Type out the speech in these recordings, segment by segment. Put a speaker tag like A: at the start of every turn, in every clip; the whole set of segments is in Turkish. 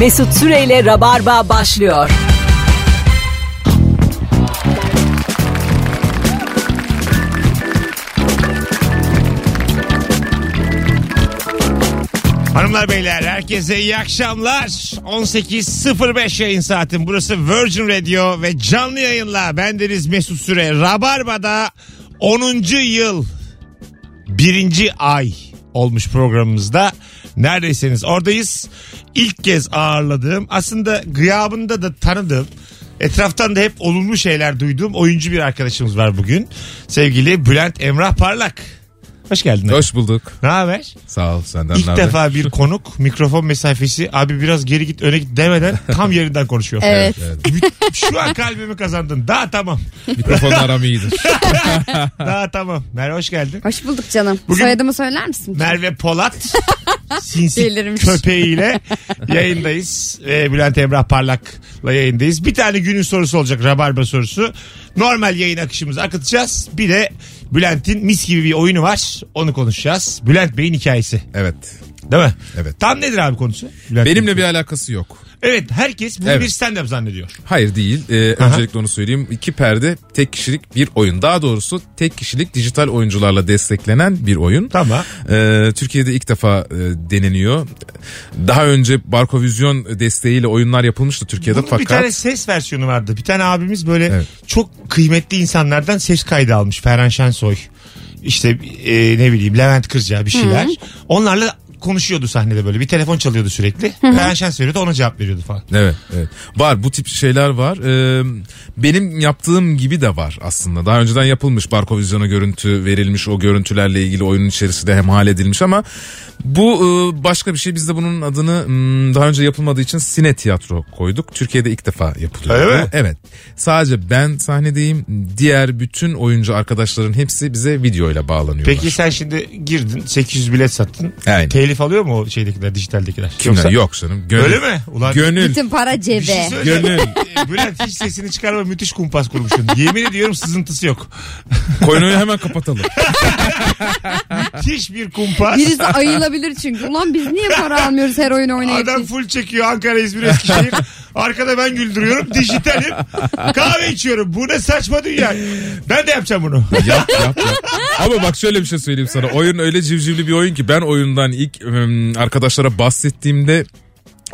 A: Mesut Süreyle Rabarba başlıyor.
B: Hanımlar beyler herkese iyi akşamlar. 18.05 yayın saatin. Burası Virgin Radio ve canlı yayınla bendeniz Mesut Süre. Rabarba'da 10. yıl birinci ay olmuş programımızda. Neredeyseniz oradayız. İlk kez ağırladığım aslında gıyabında da tanıdığım etraftan da hep olumlu şeyler duyduğum oyuncu bir arkadaşımız var bugün. Sevgili Bülent Emrah Parlak. Hoş geldin.
C: Hoş bulduk.
B: Ne haber?
C: Sağ ol senden
B: İlk
C: ne haber?
B: defa bir konuk mikrofon mesafesi abi biraz geri git öne git demeden tam yerinden konuşuyor.
D: Evet.
B: Şu an kalbimi kazandın. Daha tamam.
C: Mikrofonun aramı iyidir.
B: Daha tamam. Merve hoş geldin.
D: Hoş bulduk canım.
B: Bugün-
D: Soyadımı söyler misin?
B: Merve Polat sinsi
D: Delirmiş.
B: köpeğiyle yayındayız. Ee, Bülent Emrah Parlak'la yayındayız. Bir tane günün sorusu olacak Rabarba sorusu. Normal yayın akışımızı akıtacağız. Bir de Bülent'in mis gibi bir oyunu var. Onu konuşacağız. Bülent Bey'in hikayesi.
C: Evet.
B: Değil mi?
C: Evet.
B: Tam nedir abi konusu? Bülent Bey'in.
C: Benimle bir alakası yok.
B: Evet herkes bunu
C: Evet.
B: bir stand-up zannediyor.
C: Hayır değil. Ee, öncelikle onu söyleyeyim. İki perde tek kişilik bir oyun. Daha doğrusu tek kişilik dijital oyuncularla desteklenen bir oyun.
B: Tamam.
C: Ee, Türkiye'de ilk defa e, deneniyor. Daha önce Barkovizyon desteğiyle oyunlar yapılmıştı Türkiye'de
B: Bunun bir
C: fakat
B: tane ses versiyonu vardı. Bir tane abimiz böyle
C: Evet.
B: çok kıymetli insanlardan ses kaydı almış. Ferhan Şensoy. İşte e, ne bileyim Levent Kırca bir şeyler. Onlarla konuşuyordu sahnede böyle. Bir telefon çalıyordu sürekli. Ferhan Şensoy veriyordu ona cevap veriyordu falan.
C: Evet, evet. Var bu tip şeyler var. Ee, benim yaptığım gibi de var aslında. Daha önceden yapılmış Barkovizyon'a görüntü verilmiş o görüntülerle ilgili oyunun içerisinde hem hal edilmiş ama bu e, başka bir şey. Biz de bunun adını hmm, daha önce yapılmadığı için sine tiyatro koyduk. Türkiye'de ilk defa yapılıyor.
B: Öyle
C: bu.
B: mi?
C: Evet. Sadece ben sahnedeyim. Diğer bütün oyuncu arkadaşların hepsi bize videoyla bağlanıyorlar.
B: Peki sen şimdi girdin 800 bilet sattın.
C: Aynen.
B: Telif alıyor mu o şeydekiler dijitaldekiler?
C: Kimler?
B: Yoksa-
C: Yok canım. Gönül.
B: Öyle mi? Ulan
C: Gönül.
D: Bütün para
B: Bir şey
D: cebe.
B: söyleyeceğim.
C: Gönül.
B: E, Bülent hiç sesini çıkarma müthiş kumpas kurmuşsun. Yemin ediyorum sızıntısı yok.
C: Konuyu hemen kapatalım.
B: Hiçbir kumpas.
D: Birisi ayılabilir çünkü. Ulan biz niye para almıyoruz her oyun oynayıp?
B: Adam
D: biz?
B: full çekiyor Ankara, İzmir, Eskişehir. Arkada ben güldürüyorum. Dijitalim. Kahve içiyorum. Bu ne saçma dünya. Ben de yapacağım bunu.
C: yap yap yap. Ama bak şöyle bir şey söyleyeyim sana. Oyun öyle civcivli bir oyun ki ben oyundan ilk ım, arkadaşlara bahsettiğimde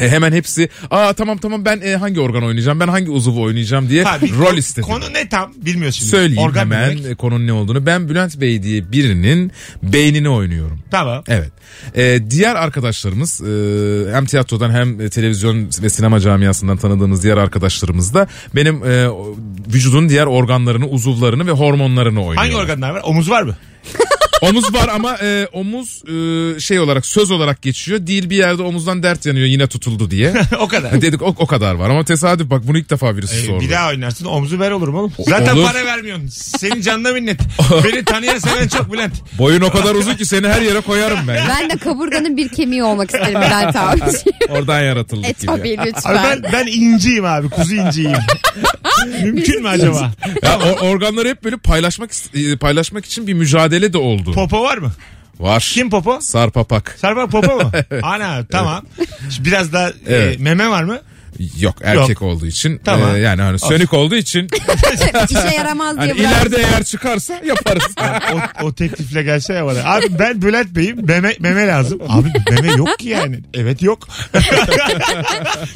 C: e, hemen hepsi aa tamam tamam ben e, hangi organ oynayacağım ben hangi uzuvu oynayacağım diye
B: Ha, bir-
C: rol istedi.
B: Konu ne tam bilmiyorsun. şimdi.
C: Söyleyeyim
B: Organ ne
C: hemen
B: demek?
C: e, konunun ne olduğunu. Ben Bülent Bey diye birinin beynini oynuyorum.
B: Tamam.
C: Evet. Ee, diğer arkadaşlarımız e, hem tiyatrodan hem televizyon ve sinema camiasından tanıdığımız diğer arkadaşlarımız da benim e, o- vücudun diğer organlarını, uzuvlarını ve hormonlarını oynuyorlar.
B: Hangi organlar var? Omuz var mı?
C: Omuz var ama e, omuz e, şey olarak söz olarak geçiyor. Değil bir yerde omuzdan dert yanıyor yine tutuldu diye.
B: o kadar.
C: Dedik o, o kadar var ama tesadüf bak bunu ilk defa birisi
B: Ee,
C: sordu.
B: bir daha oynarsın omuzu ver olurum oğlum. Zaten
C: olur.
B: para vermiyorsun. Senin canına minnet. Beni tanıyan seven çok Bülent.
C: Boyun o kadar uzun ki seni her yere koyarım ben. ya.
D: Ben de kaburganın bir kemiği olmak isterim Bülent abi.
C: Oradan yaratıldık
D: e
C: gibi.
D: tabii
B: Abi
D: lütfen.
B: ben, ben inciyim abi. Kuzu inciyim. Mümkün mü acaba?
C: Ya, o- organları hep böyle paylaşmak is- e, paylaşmak için bir mücadele de oldu.
B: Popo var mı?
C: Var.
B: Kim popo?
C: Sarpapak.
B: Sarpa popo mu? Ana tamam. Şimdi Biraz daha e,
C: Evet.
B: meme var mı?
C: Yok erkek olduğu için.
B: Tamam.
C: e, yani hani sönük olduğu için.
B: şey-
D: İşe yaramaz diye
C: Hani
D: bırak.
C: ileride eğer çıkarsa yaparız.
B: O, o teklifle gelse ya bana. Abi ben Bülent Bey'im meme, meme lazım. Abi meme yok ki yani. Evet yok.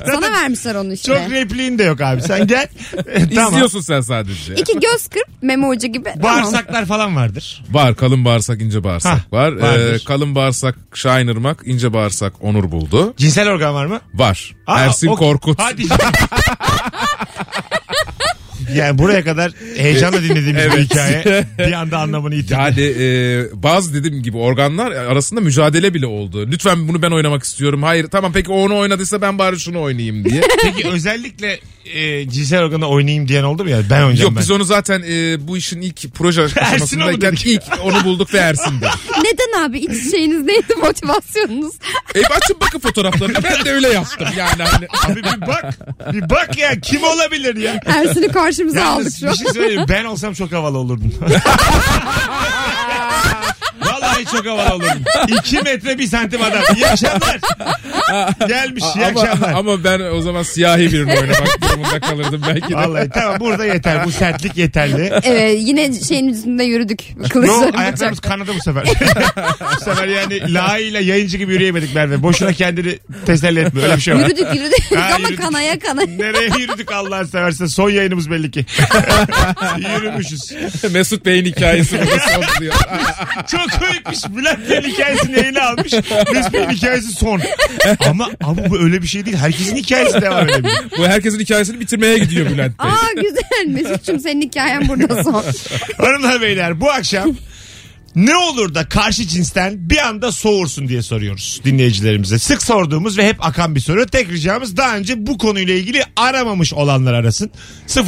D: Sana vermişler onu
B: Çok
D: işte.
B: repliğin de yok abi. Sen gel. E, tamam.
C: İzliyorsun sen sadece.
D: İki göz kırp meme ucu gibi. Tamam.
B: Bağırsaklar falan vardır.
C: Var kalın bağırsak ince bağırsak
B: Hah,
C: var.
B: vardır.
C: Ee, kalın bağırsak Şahin Irmak ince bağırsak Onur buldu.
B: Cinsel organ var mı?
C: Var.
B: Aa,
C: Ersin
B: o-
C: Korkut.
B: Hadi. yani buraya kadar heyecanla dinlediğimiz bir
C: Evet.
B: hikaye. Bir anda anlamını yitirdi.
C: Yani e, bazı dediğim gibi organlar arasında mücadele bile oldu. Lütfen bunu ben oynamak istiyorum. Hayır tamam peki o onu oynadıysa ben bari şunu oynayayım diye.
B: Peki özellikle e, cinsel organı oynayayım diyen oldu mu ya? Ben oynayacağım
C: Yok
B: ben.
C: biz onu zaten e, bu işin ilk proje aşamasındayken
B: dedik.
C: ilk onu bulduk ve Ersin dedik.
D: Neden abi iç şeyiniz neydi motivasyonunuz?
C: E açın bakın fotoğraflarını ben de öyle yaptım yani. Hani,
B: Abi bir bak. Bir bak ya kim olabilir ya?
D: Ersin'i karşımıza aldık
B: Yalnız şey
D: şu an.
B: bir şey söyleyeyim. Ben olsam çok havalı olurdum. Valla Vallahi çok havalı olurdum. 2 metre 1 santim adam. İyi akşamlar. Gelmiş iyi
C: ama,
B: akşamlar.
C: ama ben o zaman siyahi birini oynamak durumunda kalırdım belki de.
B: Vallahi tamam burada yeter. Bu sertlik yeterli.
D: Evet yine şeyin üstünde yürüdük.
B: No,
D: Kılıçları bıçak.
B: ayaklarımız kanadı bu sefer. bu sefer yani la ile yayıncı gibi yürüyemedik Merve. Boşuna kendini teselli etme. Öyle bir şey var.
D: Yürüdük yürüdük
B: Ha,
D: ama
B: yürüdük.
D: kanaya kanaya.
B: Nereye yürüdük Allah'ın seversen. Son yayınımız belli ki. Yürümüşüz.
C: Mesut Bey'in hikayesi burada son diyor.
B: Çok komikmiş. Bülent Bey'in hikayesini ele almış. Mesut Bey'in hikayesi son. Ama ama bu öyle bir şey değil. Herkesin hikayesi devam edebilir.
C: Bu herkesin hikayesini bitirmeye gidiyor Bülent Bey.
D: Aa güzel Mesut'cum senin hikayen burada son.
B: Hanımlar beyler bu akşam ne olur da karşı cinsten bir anda soğursun diye soruyoruz dinleyicilerimize. Sık sorduğumuz ve hep akan bir soru. Tek ricamız daha önce bu konuyla ilgili aramamış olanlar arasın.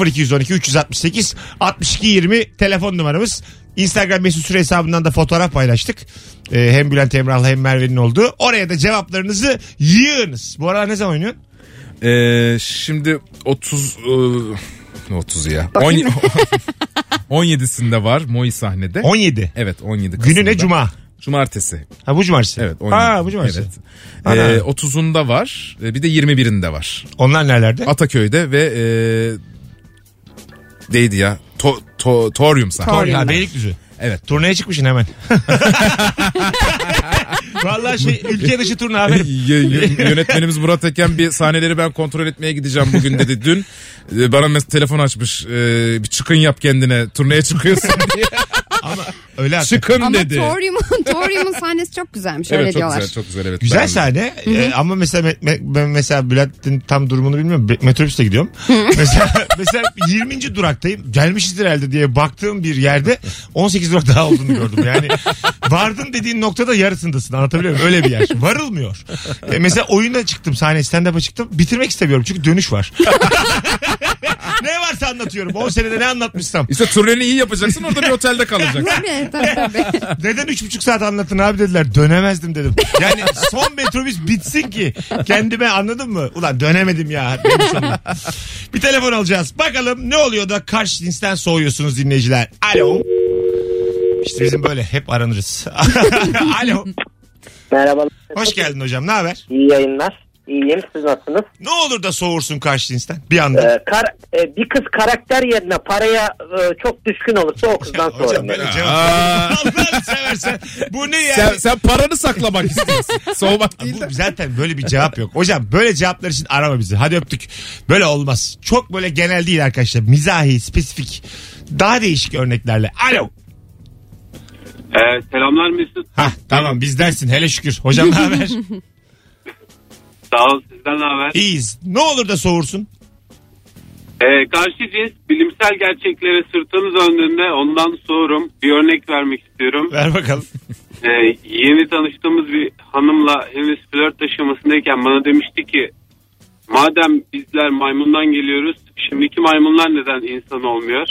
B: 0212 368 62 20 telefon numaramız. Instagram mesut süre hesabından da fotoğraf paylaştık. Ee, hem Bülent Emrah'la hem Merve'nin olduğu. Oraya da cevaplarınızı yığınız. Bu arada ne zaman oynuyorsun?
C: Ee, şimdi 30 e, 30 ya.
D: Bakayım.
C: 10 17'sinde var Moi sahnede.
B: 17.
C: Evet 17 Kasım'da.
B: Günü ne? Cuma.
C: Cumartesi.
B: Ha bu cumartesi.
C: Evet 17.
B: Ha bu cumartesi.
C: Evet.
B: Ana.
C: Ee, 30'unda var. Ee, Bir de 21'inde var.
B: Onlar nerelerde?
C: Ataköy'de ve e, neydi ya? To, to, torium sahne.
B: Ha, Beylikdüzü.
C: Evet.
B: Turneye çıkmışsın hemen. Vallahi şey ülke dışı turne haberim.
C: Y- y- yönetmenimiz Murat Eken bir sahneleri ben kontrol etmeye gideceğim bugün dedi dün. e, Bana mes- telefon açmış. e, Bir çıkın yap kendine. Turneye çıkıyorsun diye.
B: Ama öyle hakikaten.
C: çıkın
D: Ama
C: dedi.
D: Torium'un Torium'un sahnesi çok güzelmiş öyle
C: Evet çok
D: diyorlar.
C: güzel çok güzel evet.
B: Güzel
C: Ben-
B: sahne Ee, ama mesela me- me- ben mesela Bülent'in tam durumunu bilmiyorum. Be- Metrobüste gidiyorum. mesela mesela 20. duraktayım. Gelmişizdir herhalde diye baktığım bir yerde 18 durak daha olduğunu gördüm. Yani vardın dediğin noktada yarısındasın. Anlatabiliyor muyum? Öyle bir yer. Varılmıyor. Ee, mesela oyuna çıktım sahne stand-up'a çıktım. Bitirmek istemiyorum çünkü dönüş var. ne varsa anlatıyorum. 10 senede ne anlatmışsam.
C: İşte turneni iyi yapacaksın orada bir otelde kalacaksın.
D: Tabii, tabii, tabii.
B: Neden üç buçuk saat anlatın abi dediler. Dönemezdim dedim. Yani son metrobüs bitsin ki kendime anladın mı? Ulan dönemedim ya. demiş oldum. bir telefon alacağız. Bakalım ne oluyor da karşı cinsten soğuyorsunuz dinleyiciler. Alo. İşte bizim böyle hep aranırız. Alo.
E: Merhaba.
B: Hoş geldin hocam. Ne haber?
E: İyi yayınlar. İyiyim. Siz nasılsınız?
B: Ne olur da soğursun karşı cinsten bir anda.
E: Ee, kar, e, bir kız karakter yerine paraya e, çok düşkün olursa o kızdan
B: hocam
E: sonra.
B: böyle cevap.
C: Aa.
B: Allah'ını seversen. Bu ne yani?
C: Sen, sen paranı saklamak istiyorsun. Soğumak değil de.
B: Bu zaten böyle bir cevap yok. Hocam böyle cevaplar için arama bizi. Hadi öptük. Böyle olmaz. Çok böyle genel değil arkadaşlar. Mizahi, spesifik. Daha değişik örneklerle. Alo.
F: Ee, selamlar Mesut.
B: Hah tamam bizdensin hele şükür. Hocam ne haber?
F: Sağ ol sizden ne haber?
B: İyiyiz. Ne olur da soğursun.
F: Ee, karşı cins bilimsel gerçeklere sırtını döndüğünde ondan soğurum. Bir örnek vermek istiyorum.
B: Ver bakalım.
F: Ee, yeni tanıştığımız bir hanımla henüz flört aşamasındayken bana demişti ki madem bizler maymundan geliyoruz şimdiki maymunlar neden insan olmuyor?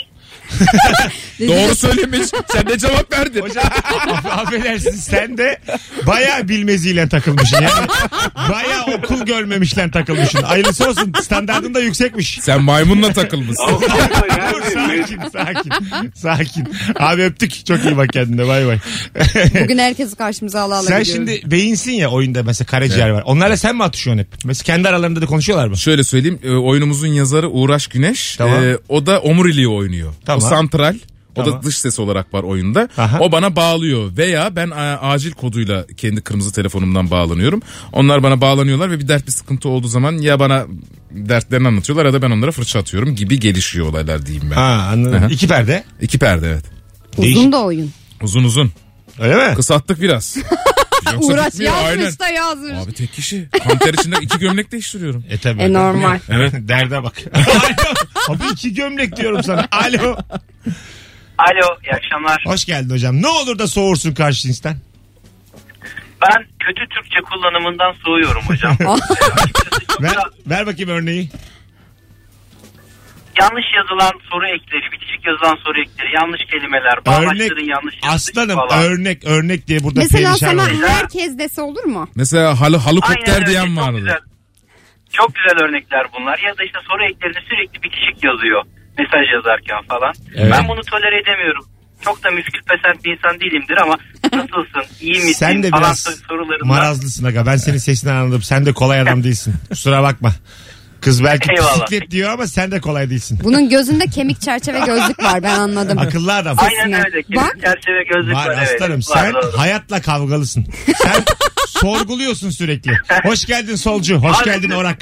C: Doğru söylemiş. Sen de cevap verdin.
B: Hocam aff- affedersin sen de bayağı bilmeziyle takılmışsın. Yani bayağı okul görmemişle takılmışsın. Hayırlısı olsun standartın da yüksekmiş.
C: Sen maymunla takılmışsın.
F: Ama
B: Dur,
F: yani
B: sakin sakin sakin. Abi öptük çok iyi bak kendine bay bay.
D: Bugün herkesi karşımıza ala ala
B: Sen
D: gidiyoruz.
B: şimdi beyinsin ya oyunda mesela karaciğer var. Onlarla sen mi atışıyorsun hep? Mesela kendi aralarında da konuşuyorlar mı?
C: Şöyle söyleyeyim e, oyunumuzun yazarı Uğraş Güneş.
B: Tamam.
C: E, o da Omurili'yi oynuyor.
B: Tamam.
C: O santral. O
B: Tamam.
C: da dış ses olarak var oyunda.
B: Aha.
C: O bana bağlıyor veya ben a- acil koduyla kendi kırmızı telefonumdan bağlanıyorum. Onlar bana bağlanıyorlar ve bir dert bir sıkıntı olduğu zaman ya bana dertlerini anlatıyorlar ya da ben onlara fırça atıyorum gibi gelişiyor olaylar diyeyim ben.
B: Ha anladım.
C: Aha.
B: İki perde.
C: İki perde evet.
B: Değişik.
D: Uzun da oyun.
C: Uzun uzun.
B: Öyle mi?
C: Kısalttık biraz. Yoksa
D: Uğraş
C: bitmiyor,
D: yazmış
C: aynen.
D: da yazmış.
C: Abi tek kişi. Kanter içinde iki gömlek değiştiriyorum.
B: E tabii.
D: E, normal.
B: Evet. Derde bak. Alo. Abi iki gömlek diyorum sana. Alo.
G: Alo iyi akşamlar.
B: Hoş geldin hocam. Ne olur da soğursun karşı cinsten.
G: Ben kötü Türkçe kullanımından soğuyorum hocam.
B: Ver, ver bakayım örneği.
G: yanlış yazılan soru ekleri, bitişik yazılan soru ekleri, yanlış kelimeler,
B: Örnek.
G: bağlaçların yanlış yazılışı
B: Aslanım
G: falan.
B: örnek örnek diye burada
D: Mesela
B: perişan
D: sana
B: oldum.
D: herkes dese olur mu?
C: Mesela halı
G: Aynen
C: halukopter
G: öyle,
C: diyen
G: çok
C: vardı.
G: güzel. Çok güzel örnekler bunlar. Ya da işte soru eklerinde sürekli bitişik yazıyor. Mesaj yazarken falan.
B: Evet.
G: Ben bunu tolere edemiyorum. çok da müskül pesent bir insan değilimdir ama nasılsın, iyi misin
B: Sen de
G: falan
B: biraz
G: sorularından.
B: marazlısın aga. Ben senin sesinden anladım. Sen de kolay adam değilsin. Kusura bakma. Kız belki
G: Eyvallah.
B: bisiklet diyor ama sen de kolay değilsin.
D: Bunun gözünde kemik çerçeve gözlük var ben anladım.
B: Akıllı adam.
G: Aynen
D: Kesinlikle.
G: öyle. Kesin
D: Bak.
G: çerçeve gözlük var.
B: Var
G: evet.
B: aslanım
G: Var,
B: sen
G: doğru.
B: hayatla kavgalısın. Sen sorguluyorsun sürekli. Hoş geldin solcu, hoş
G: Abi-
B: geldin orak.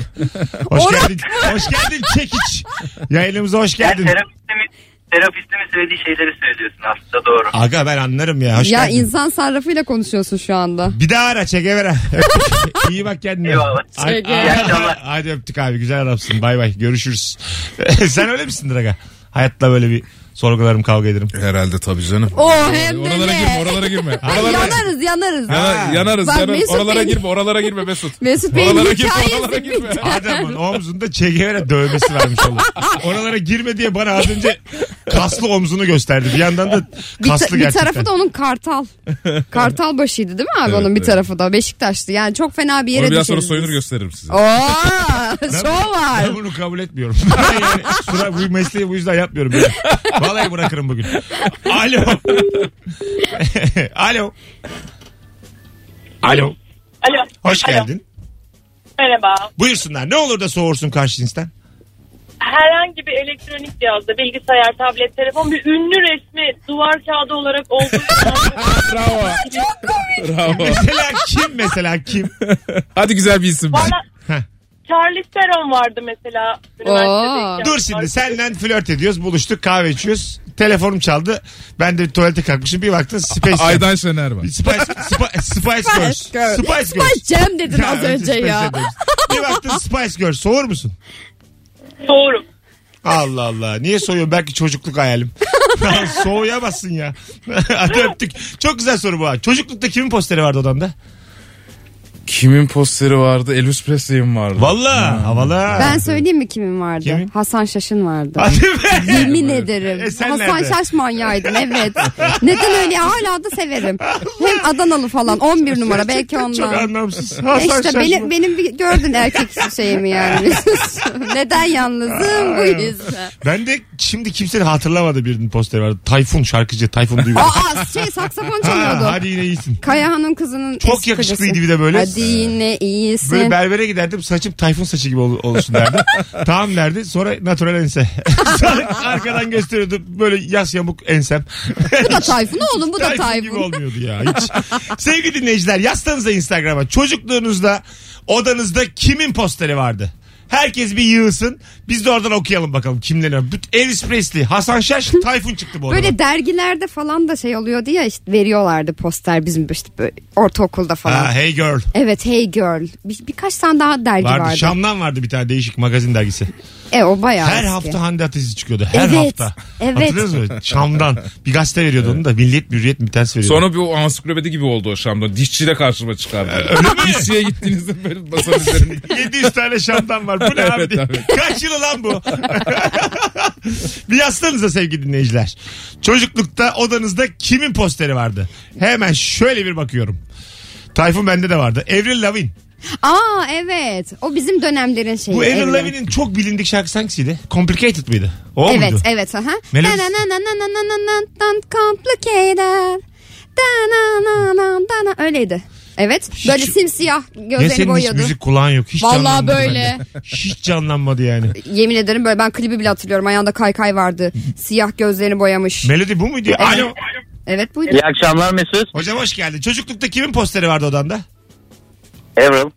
B: Hoş geldin. Hoş geldin çekiç. Yayınımıza hoş
G: Yani
B: geldin.
G: terapistimin, terapistimin söylediği şeyleri söylüyorsun aslında doğru.
B: Aga ben anlarım ya. Hoş
D: Ya
B: geldin.
D: insan sarrafıyla konuşuyorsun şu anda.
B: bir daha ara çekevera. Öptük. İyi bak kendine.
G: Eyvallah.
B: Ay-
D: Çeke.
B: Ay-
G: İyi akşamlar.
B: Hadi öptük abi güzel adamsın. Bay bay görüşürüz. Sen öyle misindir aga? Hayatta böyle bir sorgularım kavga ederim.
C: Herhalde tabii canım.
D: O Oh, hem de
C: E, oralara
D: ne?
C: girme oralara girme.
D: Ay,
C: Oralara-
D: yanarız yanarız.
C: Yana- yanarız
D: Bak
C: yanarız.
D: Mesut
C: Oralara
D: Bey'in-
C: girme oralara girme Mesut.
D: Mesut Bey'in
C: Oralara girme,
D: hikayesi
C: oralara girme.
D: bitti.
B: Adamın omzunda çekevere dövmesi varmış oğlum. Oralara girme diye bana az önce kaslı omzunu gösterdi. Bir yandan da
D: Bir, ta-
B: kaslı
D: bir
B: gerçekten.
D: tarafı da onun kartal. Kartal başıydı değil mi abi
C: Evet,
D: onun bir
C: evet.
D: tarafı da Beşiktaş'tı. Yani çok fena bir yere
C: Onu biraz sonra
D: düşeriz
C: soyunur
D: biz.
C: gösteririm size.
D: Oo, şov var.
B: Ben bunu kabul etmiyorum. yani, kusura- bu mesleği bu yüzden yapmıyorum. Yani. Vallahi bırakırım bugün. Alo. Alo. Alo.
H: Alo.
B: Hoş
H: Alo.
B: geldin.
H: Merhaba.
B: Buyursunlar. Ne olur da soğursun karşı cinsten.
H: Herhangi bir elektronik cihazda bilgisayar, tablet, telefon bir ünlü resmi duvar kağıdı olarak olduğu
C: Bravo. Bravo.
B: Mesela kim mesela kim?
C: Hadi güzel bir isim. ver.
H: Valla Charles Theron vardı mesela. üniversitedeyken.
B: Dur şimdi senden flört ediyoruz. Buluştuk kahve içiyoruz. Telefonum çaldı. Ben de tuvalete kalkmışım. Bir baktım Space Jam.
C: Aydan Şener var.
B: Spice, Spi- Spice Girls.
D: Girls.
B: Spice Girls.
D: Baş Cem dedin
B: Ya,
D: az önce
B: Spice
D: ya.
B: Girls. Bir baktın Spice Girls. Soğur musun?
H: Doğru.
B: Allah Allah. Niye soğuyor? Belki çocukluk hayalim. Soğuyamazsın ya. Hadi öptük. Çok güzel soru bu. ha. Çocuklukta kimin posteri vardı odanda?
C: Kimin posteri vardı? Elvis Presley'in vardı.
B: Valla. Havalı. ha.
D: Ben söyleyeyim mi kimin vardı?
B: Kimin?
D: Hasan Şaş'ın vardı.
B: Hadi be.
D: Yemin ederim.
B: E, sen
D: Hasan
B: nerede?
D: Şaş manyaydın evet. Neden öyle hala da severim. Hem Adanalı falan 11 numara belki ondan.
B: Çok anlamsız.
D: E
B: Hasan
D: işte
B: Şaşma.
D: benim, benim bir gördün erkek şeyimi yani. Neden yalnızım bu yüzden.
B: Ben de şimdi kimsenin hatırlamadı birinin posteri vardı. Tayfun şarkıcı. Tayfun Duygu.
D: Aa şey saksafon
B: Ha,
D: çalıyordu.
B: hadi yine iyisin.
D: Kayahan'ın kızının
B: Çok
D: eski
B: yakışıklıydı
D: kocası.
B: bir de böyle.
D: Hadi yine iyisin.
B: Böyle berbere giderdim saçım tayfun saçı gibi ol- olsun derdim. tamam derdi sonra natural ense. Sonra Arkadan gösteriyordu böyle yas yamuk ensem.
D: Bu da Tayfun oğlum bu da
B: Tayfun gibi
D: Tayfun.
B: olmuyordu ya hiç. Sevgili dinleyiciler yazsanıza Instagram'a çocukluğunuzda odanızda kimin posteri vardı? Herkes bir yığılsın. Biz de oradan okuyalım bakalım kimler. var. Bütün Elvis Presley, Hasan Şaş, Tayfun çıktı bu odadan.
D: Böyle dergilerde falan da şey oluyordu ya işte veriyorlardı poster bizim işte böyle ortaokulda falan.
B: Ha, hey girl.
D: Evet Hey Girl. Bir, birkaç tane daha dergi
B: Vardı.
D: vardı.
B: Şam'dan vardı bir tane değişik magazin dergisi.
D: E o bayağı
B: Her
D: eski.
B: hafta Hande Atiz'i çıkıyordu. Her
D: Evet,
B: hafta.
D: evet.
B: Hatırlıyor musun? Şam'dan. Bir gazete veriyordu onu da. Milliyet Hürriyet mi ters veriyordu.
C: Sonra bir o ansiklopedi gibi oldu o Şam'da. Dişçiyle karşıma çıkardı. Dişçiye gittiğinizde böyle masanın üzerinde.
B: 700 tane Şam'dan var. Bu ne abi?
C: Evet,
B: diye.
C: evet.
B: Kaç yılı lan bu? bir yazsanıza sevgili dinleyiciler. Çocuklukta odanızda kimin posteri vardı? Hemen şöyle bir bakıyorum. Tayfun bende de vardı. Avril Lavigne.
D: Aa evet. O bizim dönemlerin şeyi.
B: Bu Avril
D: Evrim.
B: Lavigne'in çok bilindik şarkısı hangisiydi? Complicated mıydı? O
D: Evet
B: muydu?
D: evet. Aha.
B: Melodisi-
D: Na na na na na na na na na complicated. Da na na na na na. Öyleydi. Evet. Böyle simsiyah
B: Ya
D: gözlerini
B: senin hiç
D: boyadı.
B: müzik kulağın yok. Hiç
D: Vallahi
B: canlanmadı
D: böyle.
B: bende. Hiç canlanmadı yani.
D: Yemin ederim böyle ben klibi bile hatırlıyorum. Ayağında kaykay vardı. Siyah gözlerini boyamış.
B: Melodi bu muydu? Alo.
D: Evet buydu.
E: İyi akşamlar Mesut.
B: Hocam hoş geldin. Çocuklukta kimin posteri vardı odanda?
E: Avril.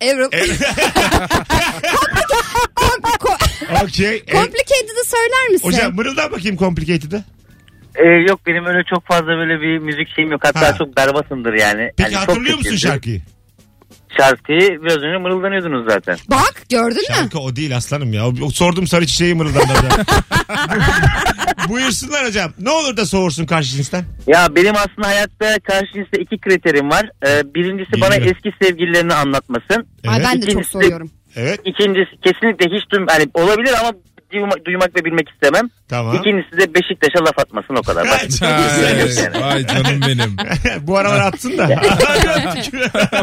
D: Evrim.
B: Okey. E,
D: Complicated'ı söyler misin?
B: Hocam mırıldan bakayım complicated'ı.
E: Ee, yok benim öyle çok fazla böyle bir müzik şeyim yok. Hatta
B: Ha.
E: çok berbatımdır yani.
B: Peki
E: Yani çok
B: hatırlıyor musun
E: kötüydü.
B: şarkıyı?
E: Şarkıyı biraz önce mırıldanıyordunuz zaten.
D: Bak gördün mü?
B: Şarkı o değil aslanım ya. O, o sordum sarı çiçeği mırıldandı hocam. Buyursunlar hocam. Ne olur da soğursun karşı cinsten.
E: Ya benim aslında hayatta karşı cinsle iki kriterim var. Ee, birincisi bana
B: Bilmiyorum.
E: eski sevgililerini anlatmasın.
D: Ay
B: Evet.
D: ben de çok
E: İkincisi-
D: soruyorum.
B: Evet.
E: İkincisi kesinlikle hiç duym yani olabilir ama
G: duyma- duymak ve bilmek istemem.
B: Tamam.
G: İkincisi de Beşiktaş'a laf atmasın o kadar. Bak,
B: Evet, çok
C: Ay,
B: güzel.
C: vay canım benim.
B: Bu aralar atsın da.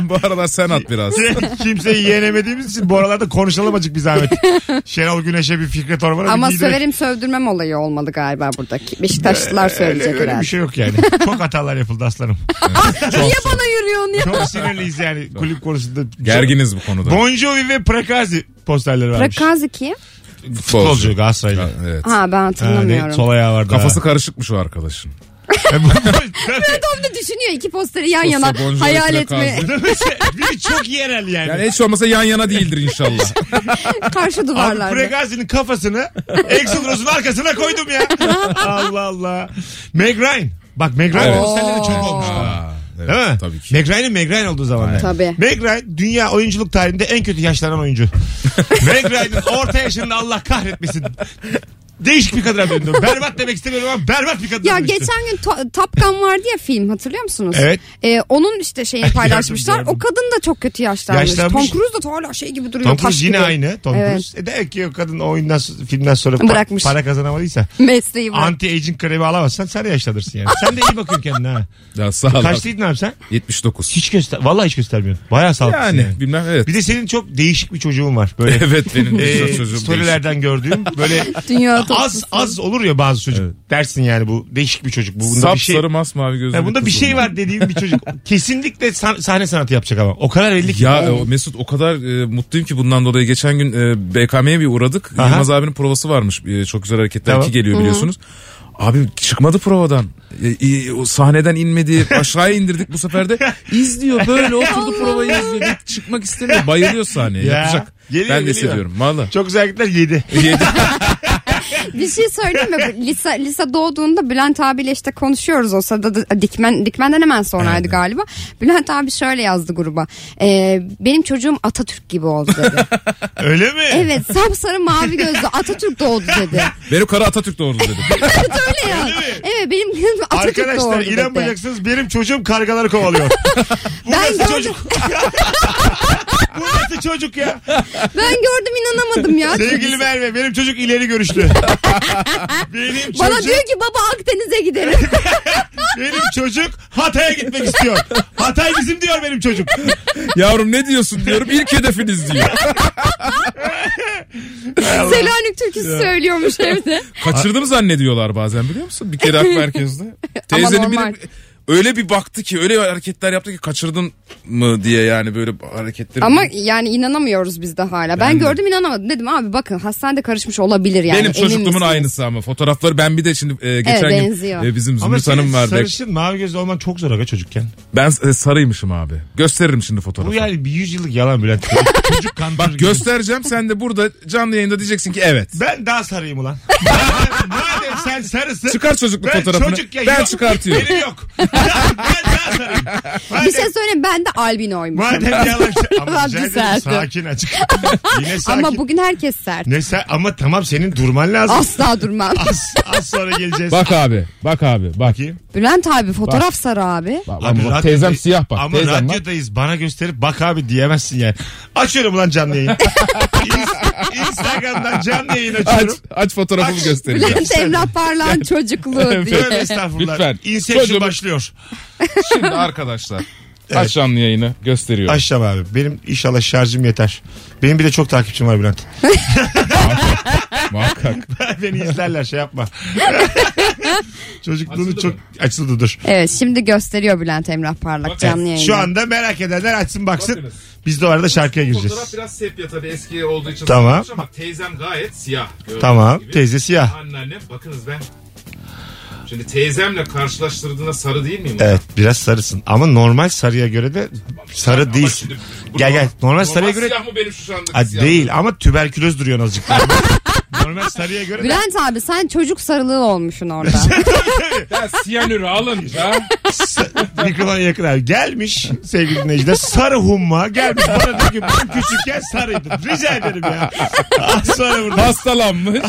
C: Bu aralar sen at biraz.
B: Kimseyi yenemediğimiz için bu aralarda konuşalım azıcık bir zahmet. Şenol Güneş'e bir Fikret Orman'a
D: Ama
B: bir giydirek.
D: söverim sövdürmem olayı olmadı galiba buradaki. Beşiktaşlılar söyleyecek
B: Öyle, öyle
D: herhalde.
B: bir şey yok yani. Çok hatalar yapıldı aslanım.
D: Niye bana yürüyorsun ya?
B: Çok sinirliyiz yani kulüp konusunda.
C: Gerginiz bu konuda.
B: Bon Jovi ve Prakazi posterleri varmış.
D: Rakazi kim?
B: Futbolcu Galatasaraylı.
C: Evet.
D: Ha ben
B: Ha, ne?
D: hatırlamıyorum.
B: Sol ayağı vardı.
C: Kafası karışıkmış o arkadaşın.
D: Tom da düşünüyor iki posteri yan
C: Sosa,
D: yana
C: Bon Jovi,
D: hayal
C: Prakazi.
D: etme
B: Biri Şey, çok yerel yani.
C: Yani hiç olmasa yan yana değildir inşallah.
D: karşı
B: Abi
D: duvarlarda.
B: Prekazi'nin kafasını Axl Rose'un arkasına koydum ya. Allah Allah. Meg Ryan. Bak Meg Ryan
C: Evet.
B: konserleri çok olmuş.
C: Aa, evet,
B: Değil mi?
C: Tabii ki.
B: Meg Ryan'ın Meg Ryan olduğu zamanlar.
D: Tabii.
B: Meg Ryan dünya oyunculuk tarihinde en kötü yaşlanan oyuncu. Meg Ryan'ın orta yaşında Allah kahretmesin. Değişik bir kadına döndü. Berbat demek istemiyorum ama berbat bir kadına
D: Ya
B: dönüştü.
D: geçen gün to- Top Gun vardı ya film hatırlıyor musunuz?
B: Evet.
D: Ee, onun işte şeyini paylaşmışlar.
B: Gördüm,
D: o kadın da çok kötü yaşlanmış.
B: Yaşlanmış.
D: Tom Cruise da hala şey gibi duruyor.
B: Tom
D: taş
B: Cruise yine
D: gibi.
B: aynı. Tom
D: Evet.
B: Cruise. E demek ki o kadın o oyundan filmden sonra pa-
D: Bırakmış.
B: para kazanamadıysa
D: Mesleği var.
B: anti aging kremi alamazsan sen de yaşlanırsın yani. Sen de iyi bakıyorsun kendine ha.
C: Ya sağ ol. abi.
B: Kaçlıydın abi sen?
C: 79.
B: Hiç göster. Vallahi hiç göstermiyorsun. Bayağı sağlıklısın.
C: Yani
B: Yani.
C: bilmem evet.
B: Bir de senin çok değişik bir çocuğun var. Böyle
C: Evet benim
B: Ee,
C: ee, sözüm
B: storylerden gördüğüm böyle
D: Dünya
B: az az olur ya bazı çocuk. Dersin yani bu değişik bir çocuk. Bu bunda
C: Sap
B: bir şey.
C: sarı masmavi gözlü.
B: Ya bunda bir
C: kız
B: şey
C: olmuş.
B: var dediğim bir çocuk. Kesinlikle san- sahne sanatı yapacak ama. O kadar belli ki.
C: Ya o Mesut o kadar e, mutluyum ki bundan dolayı geçen gün e, BKM'ye bir uğradık.
B: Aha.
C: Yılmaz abinin provası varmış. E, çok güzel hareketler
B: Tamam.
C: ki geliyor biliyorsunuz. Abi çıkmadı provadan. E, e, o sahneden inmedi. Aşağıya indirdik bu sefer de. İzliyor böyle oturdu provayı izliyor. Hiç çıkmak istemiyor. Bayılıyor sahneye.
B: Ya.
C: Yapacak.
B: Geliyor,
C: ben de
B: geliyor.
C: hissediyorum. Valla.
B: Çok güzel hareketler yedi.
C: Yedi.
D: Bir şey söyleyeyim mi? Lisa, Lisa doğduğunda Bülent abiyle işte konuşuyoruz o sırada da, dikmen, dikmenden hemen sonraydı galiba. Bülent abi şöyle yazdı gruba. Ee, benim çocuğum Atatürk gibi oldu dedi.
B: Öyle mi?
D: evet sapsarı mavi gözlü Atatürk doğdu dedi.
C: Benim kara Atatürk doğurdu dedi.
D: Evet öyle ya. Evet benim kızım Atatürk
B: Arkadaşlar
D: doğdu dedi.
B: inanmayacaksınız benim çocuğum kargaları kovalıyor. Bu
D: Ben
B: nasıl
D: gördüm.
B: çocuk? Bu nasıl çocuk ya?
D: Ben gördüm inanamadım ya.
B: Sevgili Merve benim çocuk ileri görüşlü. benim
D: Bana
B: çocuk,
D: diyor ki baba Akdeniz'e gidelim.
B: benim çocuk Hatay'a gitmek istiyor. Hatay bizim diyor benim çocuk.
C: Yavrum ne diyorsun diyorum. İlk hedefiniz diyor.
D: Selanik türküsü söylüyormuş evde.
C: Kaçırdım zannediyorlar bazen biliyor musun? Bir kere Ak Merkez'de. Teyzenin
D: normal.
C: biri öyle bir baktı ki öyle hareketler yaptı ki kaçırdın mı diye yani böyle hareketleri.
D: Ama yani inanamıyoruz biz de hala. Ben,
C: Ben de.
D: gördüm inanamadım. Dedim abi bakın hastanede karışmış olabilir yani.
C: benim
D: Emin
C: çocukluğumun
D: misiniz?
C: aynısı ama fotoğrafları ben bir de şimdi e, geçen gün
D: benziyor.
C: e, bizim
B: Ama şey,
C: Zümrüt
B: senin
C: Hanım var.
B: sarışın mavi gözlü olman çok zor aga çocukken.
C: Ben e, sarıymışım abi. Gösteririm şimdi fotoğrafı.
B: Bu yani bir yüzyıllık yalan Bülent. çocuk kandırır Bak
C: Göstereceğim sen de burada canlı yayında diyeceksin ki evet.
B: Ben daha sarıyım ulan. madem, madem sen sarısın.
C: Çıkar çocukluk
B: ben
C: fotoğrafını.
B: çocuk ya,
C: ben
B: yok.
C: çıkartıyorum.
B: Benim yok. ben daha sarıyım. Madem-
D: Bir şey söyleyeyim ben de albinoymuşum.
B: Madem yalan ama rica
D: Ben bir
B: ederim,
D: sertim.
B: sakin açık. Yine sakin.
D: Ama bugün herkes sert.
B: Ne sen ama tamam senin durman lazım.
D: Asla durmam.
B: Az, az sonra geleceğiz.
C: Bak abi bak abi bak.
B: Bakayım.
D: Bülent abi fotoğraf sarı abi.
C: Bak,
B: Abi
C: bak,
B: radyo-
C: teyzem siyah bak.
B: Ama
C: teyzem bak.
B: radyodayız bana gösterip bak abi diyemezsin yani. Açıyorum lan canlı yayın. İns- Instagram'dan canlı yayın
C: Aç,
B: açıyorum.
C: aç fotoğrafımı
B: Aç.
C: göstereceğim.
D: Bülent Emrah Parlağan çocukluğu
B: Tövbe
D: diye.
B: estağfurullah.
C: Lütfen.
B: Inception
C: Çocuğum-
B: başlıyor.
C: Şimdi arkadaşlar. Aç canlı yayını gösteriyorum.
B: Aşağı abi. Benim inşallah şarjım yeter. Benim bir de çok takipçim var Bülent.
C: Muhakkak.
B: Beni izlerler şey yapma. Çocukluğunu çok... Açıldı dur.
D: Evet şimdi gösteriyor Bülent Emrah Parlak canlı yayında.
B: Şu anda merak edenler açsın baksın. Biz de o arada şarkıya gireceğiz.
C: biraz sepya tabii eski olduğu için.
B: Tamam. sarılmış
C: Ama teyzem gayet siyah.
B: Tamam. Teyze siyah.
C: Anneannem bakınız ben. Şimdi teyzemle karşılaştırdığında sarı değil miyim?
B: Evet biraz sarısın. Ama normal sarıya göre de sarı değilsin. Gel gel. Normal sarıya göre...
C: mı benim şu anda?
B: Ha, değil ama tüberküloz duruyor azıcık. normal sarıya göre... de-
D: Bülent abi sen çocuk sarılığı olmuşsun orada.
C: Ya siyanürü alınca.
B: Mikrofona yakın abi. Gelmiş sevgili dinleyiciler sarı humma gelmiş bana diyor ki ben küçükken sarıydım. Rica ederim ya. Az sonra burada.
C: Hastalanmış.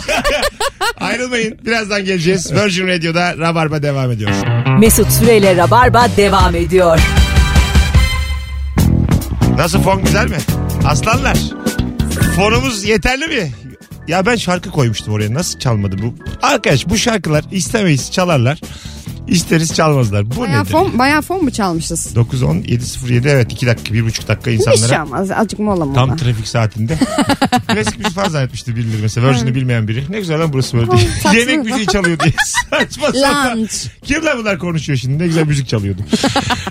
B: Ayrılmayın. Birazdan geleceğiz. Virgin Radio'da Rabarba devam ediyor.
A: Mesut Süreyle Rabarba devam ediyor.
B: Nasıl fon güzel mi? Aslanlar. Fonumuz yeterli mi? Ya ben şarkı koymuştum oraya nasıl çalmadı bu? Arkadaş bu şarkılar istemeyiz çalarlar. İsteriz çalmazlar. Bu
D: Bayağı
B: nedir?
D: fon, bayağı fon mu çalmışız?
B: 9 10 7 evet 2 dakika 1,5 dakika
D: Bir şey
B: insanlara
D: olmaz. Azıcık mola mola.
B: tam trafik saatinde klasik bir şey fan zannetmişti birileri mesela Virgin'i bilmeyen biri ne güzel lan burası böyle
D: Ay,
B: diye.
D: saçma.
B: yemek müziği çalıyor diye saçma sapan
D: Lunch.
B: kim lan bunlar konuşuyor şimdi ne güzel müzik çalıyordu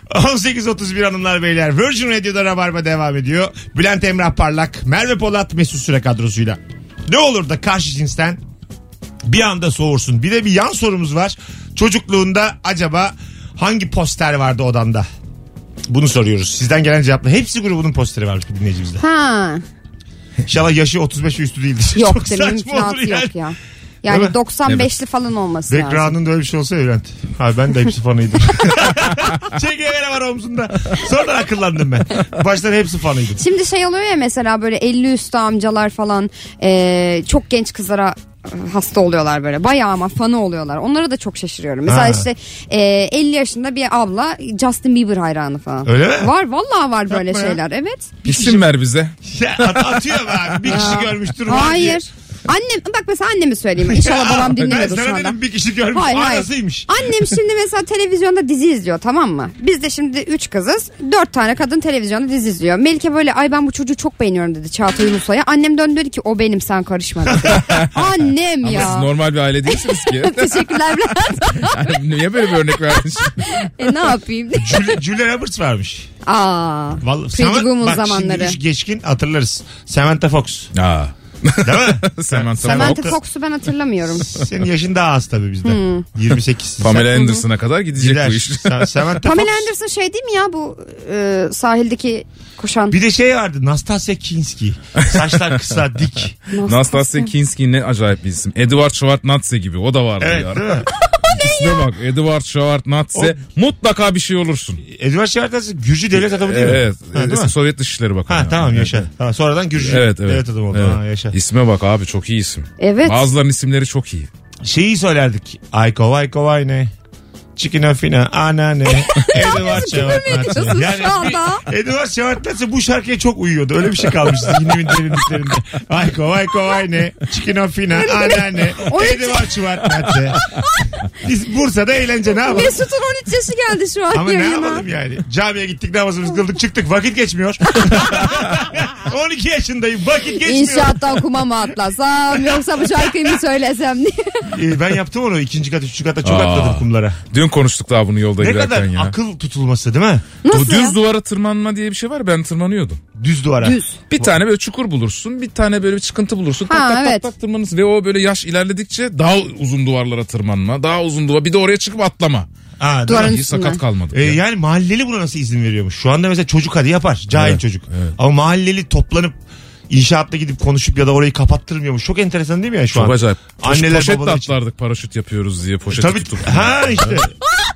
B: 18.31 hanımlar beyler Virgin Radio'da Rabarba devam ediyor Bülent Emrah Parlak Merve Polat Mesut Süre kadrosuyla ne olur da karşı cinsten bir anda soğursun. Bir de bir yan sorumuz var. Çocukluğunda acaba hangi poster vardı odanda? Bunu soruyoruz. Sizden gelen cevapla. Hepsi grubunun posteri varmış bir dinleyicimizde.
D: Ha.
B: İnşallah yaşı 35 ve üstü değildir.
D: Yok
B: Çok
D: demin
B: saçma olur
D: mümkünatı
B: yani.
D: yok ya. Yani
B: Değil mi?
D: 95'li falan olması lazım.
B: Background'un da öyle bir şey olsa evlent. Ha ben de hepsi fanıydım. Çekevere var omzumda. Sonra akıllandım ben. Baştan hepsi fanıydım.
D: Şimdi şey oluyor ya mesela böyle 50 üstü amcalar falan e, çok genç kızlara e, hasta oluyorlar böyle bayağı ama fanı oluyorlar onlara da çok şaşırıyorum mesela
B: Ha.
D: işte e, 50 yaşında bir abla Justin Bieber hayranı falan
B: Öyle mi?
D: var vallahi var böyle
B: Yapma ya.
D: şeyler evet
C: İsim ver bize.
B: Ya, at- atıyor be abi. Bir kişi görmüştür. var diye.
D: hayır annem bak mesela annemi söyleyeyim inşallah babam
B: Ben
D: dinlemiyordur şu
B: sana
D: anda
B: dedim bir kişi görmüş.
D: Hayır, hayır.
B: Anasıymış.
D: Annem şimdi mesela televizyonda dizi izliyor tamam mı? Biz de şimdi üç kızız. Dört tane kadın televizyonda dizi izliyor. Melike böyle ay ben bu çocuğu çok beğeniyorum dedi Çağatay Ulusoy'a. Annem döndü dedi ki o benim sen karışma dedi. Annem
C: Ama siz
D: ya.
C: normal bir aile değilsiniz ki.
D: Teşekkürler. Bülent.
C: Yani niye böyle bir örnek verdin şimdi?
D: e, ne yapayım?
B: Jul- Julia Roberts varmış.
D: Aa.
B: Vallahi
D: Pretty
B: Saman-
D: Woman
B: bak
D: zamanları.
B: şimdi üç geçkin hatırlarız. Samantha Fox.
C: Aa.
B: Değil mi?
C: Samantha
D: Samantha
B: Fox.
D: Fox'u ben hatırlamıyorum.
B: Senin yaşın daha az tabii bizden.
D: Hmm.
B: 28.
C: Pamela Anderson'a kadar gidecek
B: Gider.
C: bu iş.
B: Sa- Samantha
D: Pamela
B: Fox.
D: Anderson şey değil mi ya bu e, sahildeki koşan?
B: Bir de şey vardı. Nastasya Kinski. Saçlar kısa, dik.
C: Nastasya Kinski ne acayip bir isim. Edward Schwartnatze gibi o da vardı
B: Evet,
C: ya.
B: değil mi?
C: İkisine bak Edward Schwartnatze mutlaka bir şey olursun.
B: Edward Şevartas Gürcü devlet adamı değil mi?
C: Evet.
B: Ha, değil
C: eski
B: mi?
C: Sovyet Dışişleri Bakanı.
B: Ha tamam yaşa. Tamam, sonradan Gürcü
C: Evet evet.
B: devlet adamı oldu.
C: Evet.
B: Ha, yaşa.
C: İsme bak abi çok iyi isim.
D: Evet.
C: Bazılarının isimleri çok iyi.
B: Şeyi söylerdik. Ayko vayko vay ne. Çikina fina anane. Edward Şevartas.
D: ediyorsun şu anda?
B: Edward Şevartas bu şarkıya çok uyuyordu. Öyle bir şey kalmış zihnimin derinliklerinde. Ayko vayko vay ne. Çikina fina anane.
D: O ne?
B: Edward Şevartas. Biz Bursa'da eğlence ne yapalım?
D: Mesut'un 13 yaşı geldi şu an
B: Ama ne
D: yayına.
B: yapalım yani? Camiye gittik namazımızı kıldık çıktık vakit geçmiyor. 12 yaşındayım vakit geçmiyor.
D: İnşaattan kuma mı atlasam yoksa bu şarkıyı mı söylesem diye.
B: Ee, ben yaptım onu ikinci kat üçüncü katta çok
C: Aa.
B: atladım kumlara.
C: Dün konuştuk daha bunu yolda
B: Ne
C: giderken
B: kadar
C: ya.
B: akıl tutulması değil mi?
D: Nasıl
C: Bu düz
D: ya?
C: duvara tırmanma diye bir şey var ben tırmanıyordum.
B: Düz duvara.
C: Bir tane böyle çukur bulursun, bir tane böyle bir çıkıntı bulursun. Tak
D: Ha,
C: tak
D: evet.
C: tak tak tırmanırsın ve o böyle yaş ilerledikçe daha uzun duvarlara tırmanma, daha uzun duvar bir de oraya çıkıp atlama.
B: Aa, değil mi?
D: Duvarın
C: İyi
D: üstünden.
C: sakat kalmadık.
B: Ee,
C: ya.
B: yani mahalleli buna nasıl izin veriyormuş? Şu anda mesela çocuk hadi yapar. Cahil
C: Evet,
B: çocuk.
C: evet.
B: Ama mahalleli toplanıp inşaatta gidip konuşup ya da orayı kapattırmıyormuş. Çok enteresan değil mi ya şu an?
C: Çok acayip. şey Poş-
B: Anneler
C: poşetle
B: babalar için.
C: atlardık paraşüt yapıyoruz diye poşeti
B: Tabii.
C: tutup.
B: Ha işte.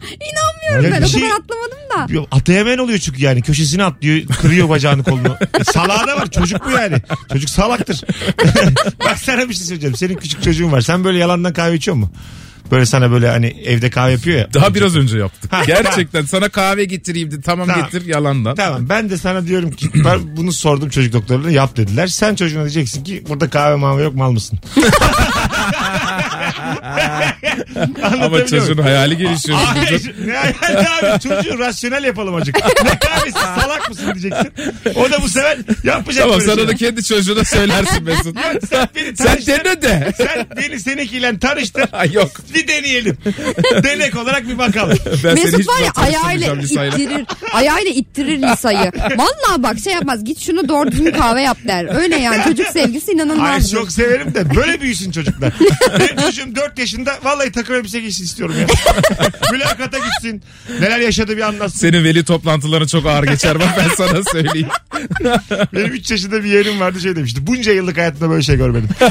D: İnanmıyorum
B: Ya
D: ben
B: bir
D: o
B: şey-
D: kadar atlamadım da.
B: Yok, Atayemen oluyor çünkü yani. Köşesini atlıyor. Kırıyor bacağını kolunu. E, Salağı da var. Çocuk bu yani. Çocuk salaktır. Bak sana bir şey söyleyeceğim. Senin küçük çocuğun var. Sen böyle yalandan kahve içiyor mu? Böyle sana böyle hani evde kahve yapıyor ya.
C: Daha biraz önce yaptık.
B: Ha,
C: Gerçekten sana kahve getireyim dedi. Tamam,
B: Tamam.
C: getir yalandan.
B: Tamam ben de sana diyorum ki ben bunu sordum çocuk doktoruna yap dediler. Sen çocuğuna diyeceksin ki burada kahve mavi yok mal mısın?
C: Ama çocuğun hayali gelişiyor.
B: Hayır, ne hayal abi çocuğu rasyonel yapalım acık. Ne kahvesi salak mısın diyeceksin. O da bu sefer yapmayacak
C: Tamam
B: böyle
C: sana da
B: şeyler.
C: kendi çocuğuna söylersin Mesut.
B: sen beni
C: Sen
B: tanıştır.
C: dene de.
B: Sen beni seninkiyle tanıştır.
C: Yok.
B: Bir deneyelim. Denek olarak bir bakalım.
C: Ben seni hiç
D: Mesut var ya
C: tanıştırmayacağım
D: ayağıyla
C: Lisa'yla.
D: ittirir. ayağıyla ittirir Lisa'yı. Vallahi bak şey yapmaz. Git şunu doğru düzgün kahve yap der. Öyle yani çocuk sevgisi
B: Ay
D: inanılmaz.
B: çok severim de böyle büyüsün çocuklar. Benim çocuğum 4 yaşında vallahi takım elbise giysin istiyorum ya. Mülakata gitsin. Neler yaşadı bir anlatsın.
C: Senin veli toplantıları çok ağır geçer bak ben sana söyleyeyim.
B: Benim 3 yaşında bir yeğenim vardı şey demişti. Bunca yıllık hayatımda böyle şey görmedim.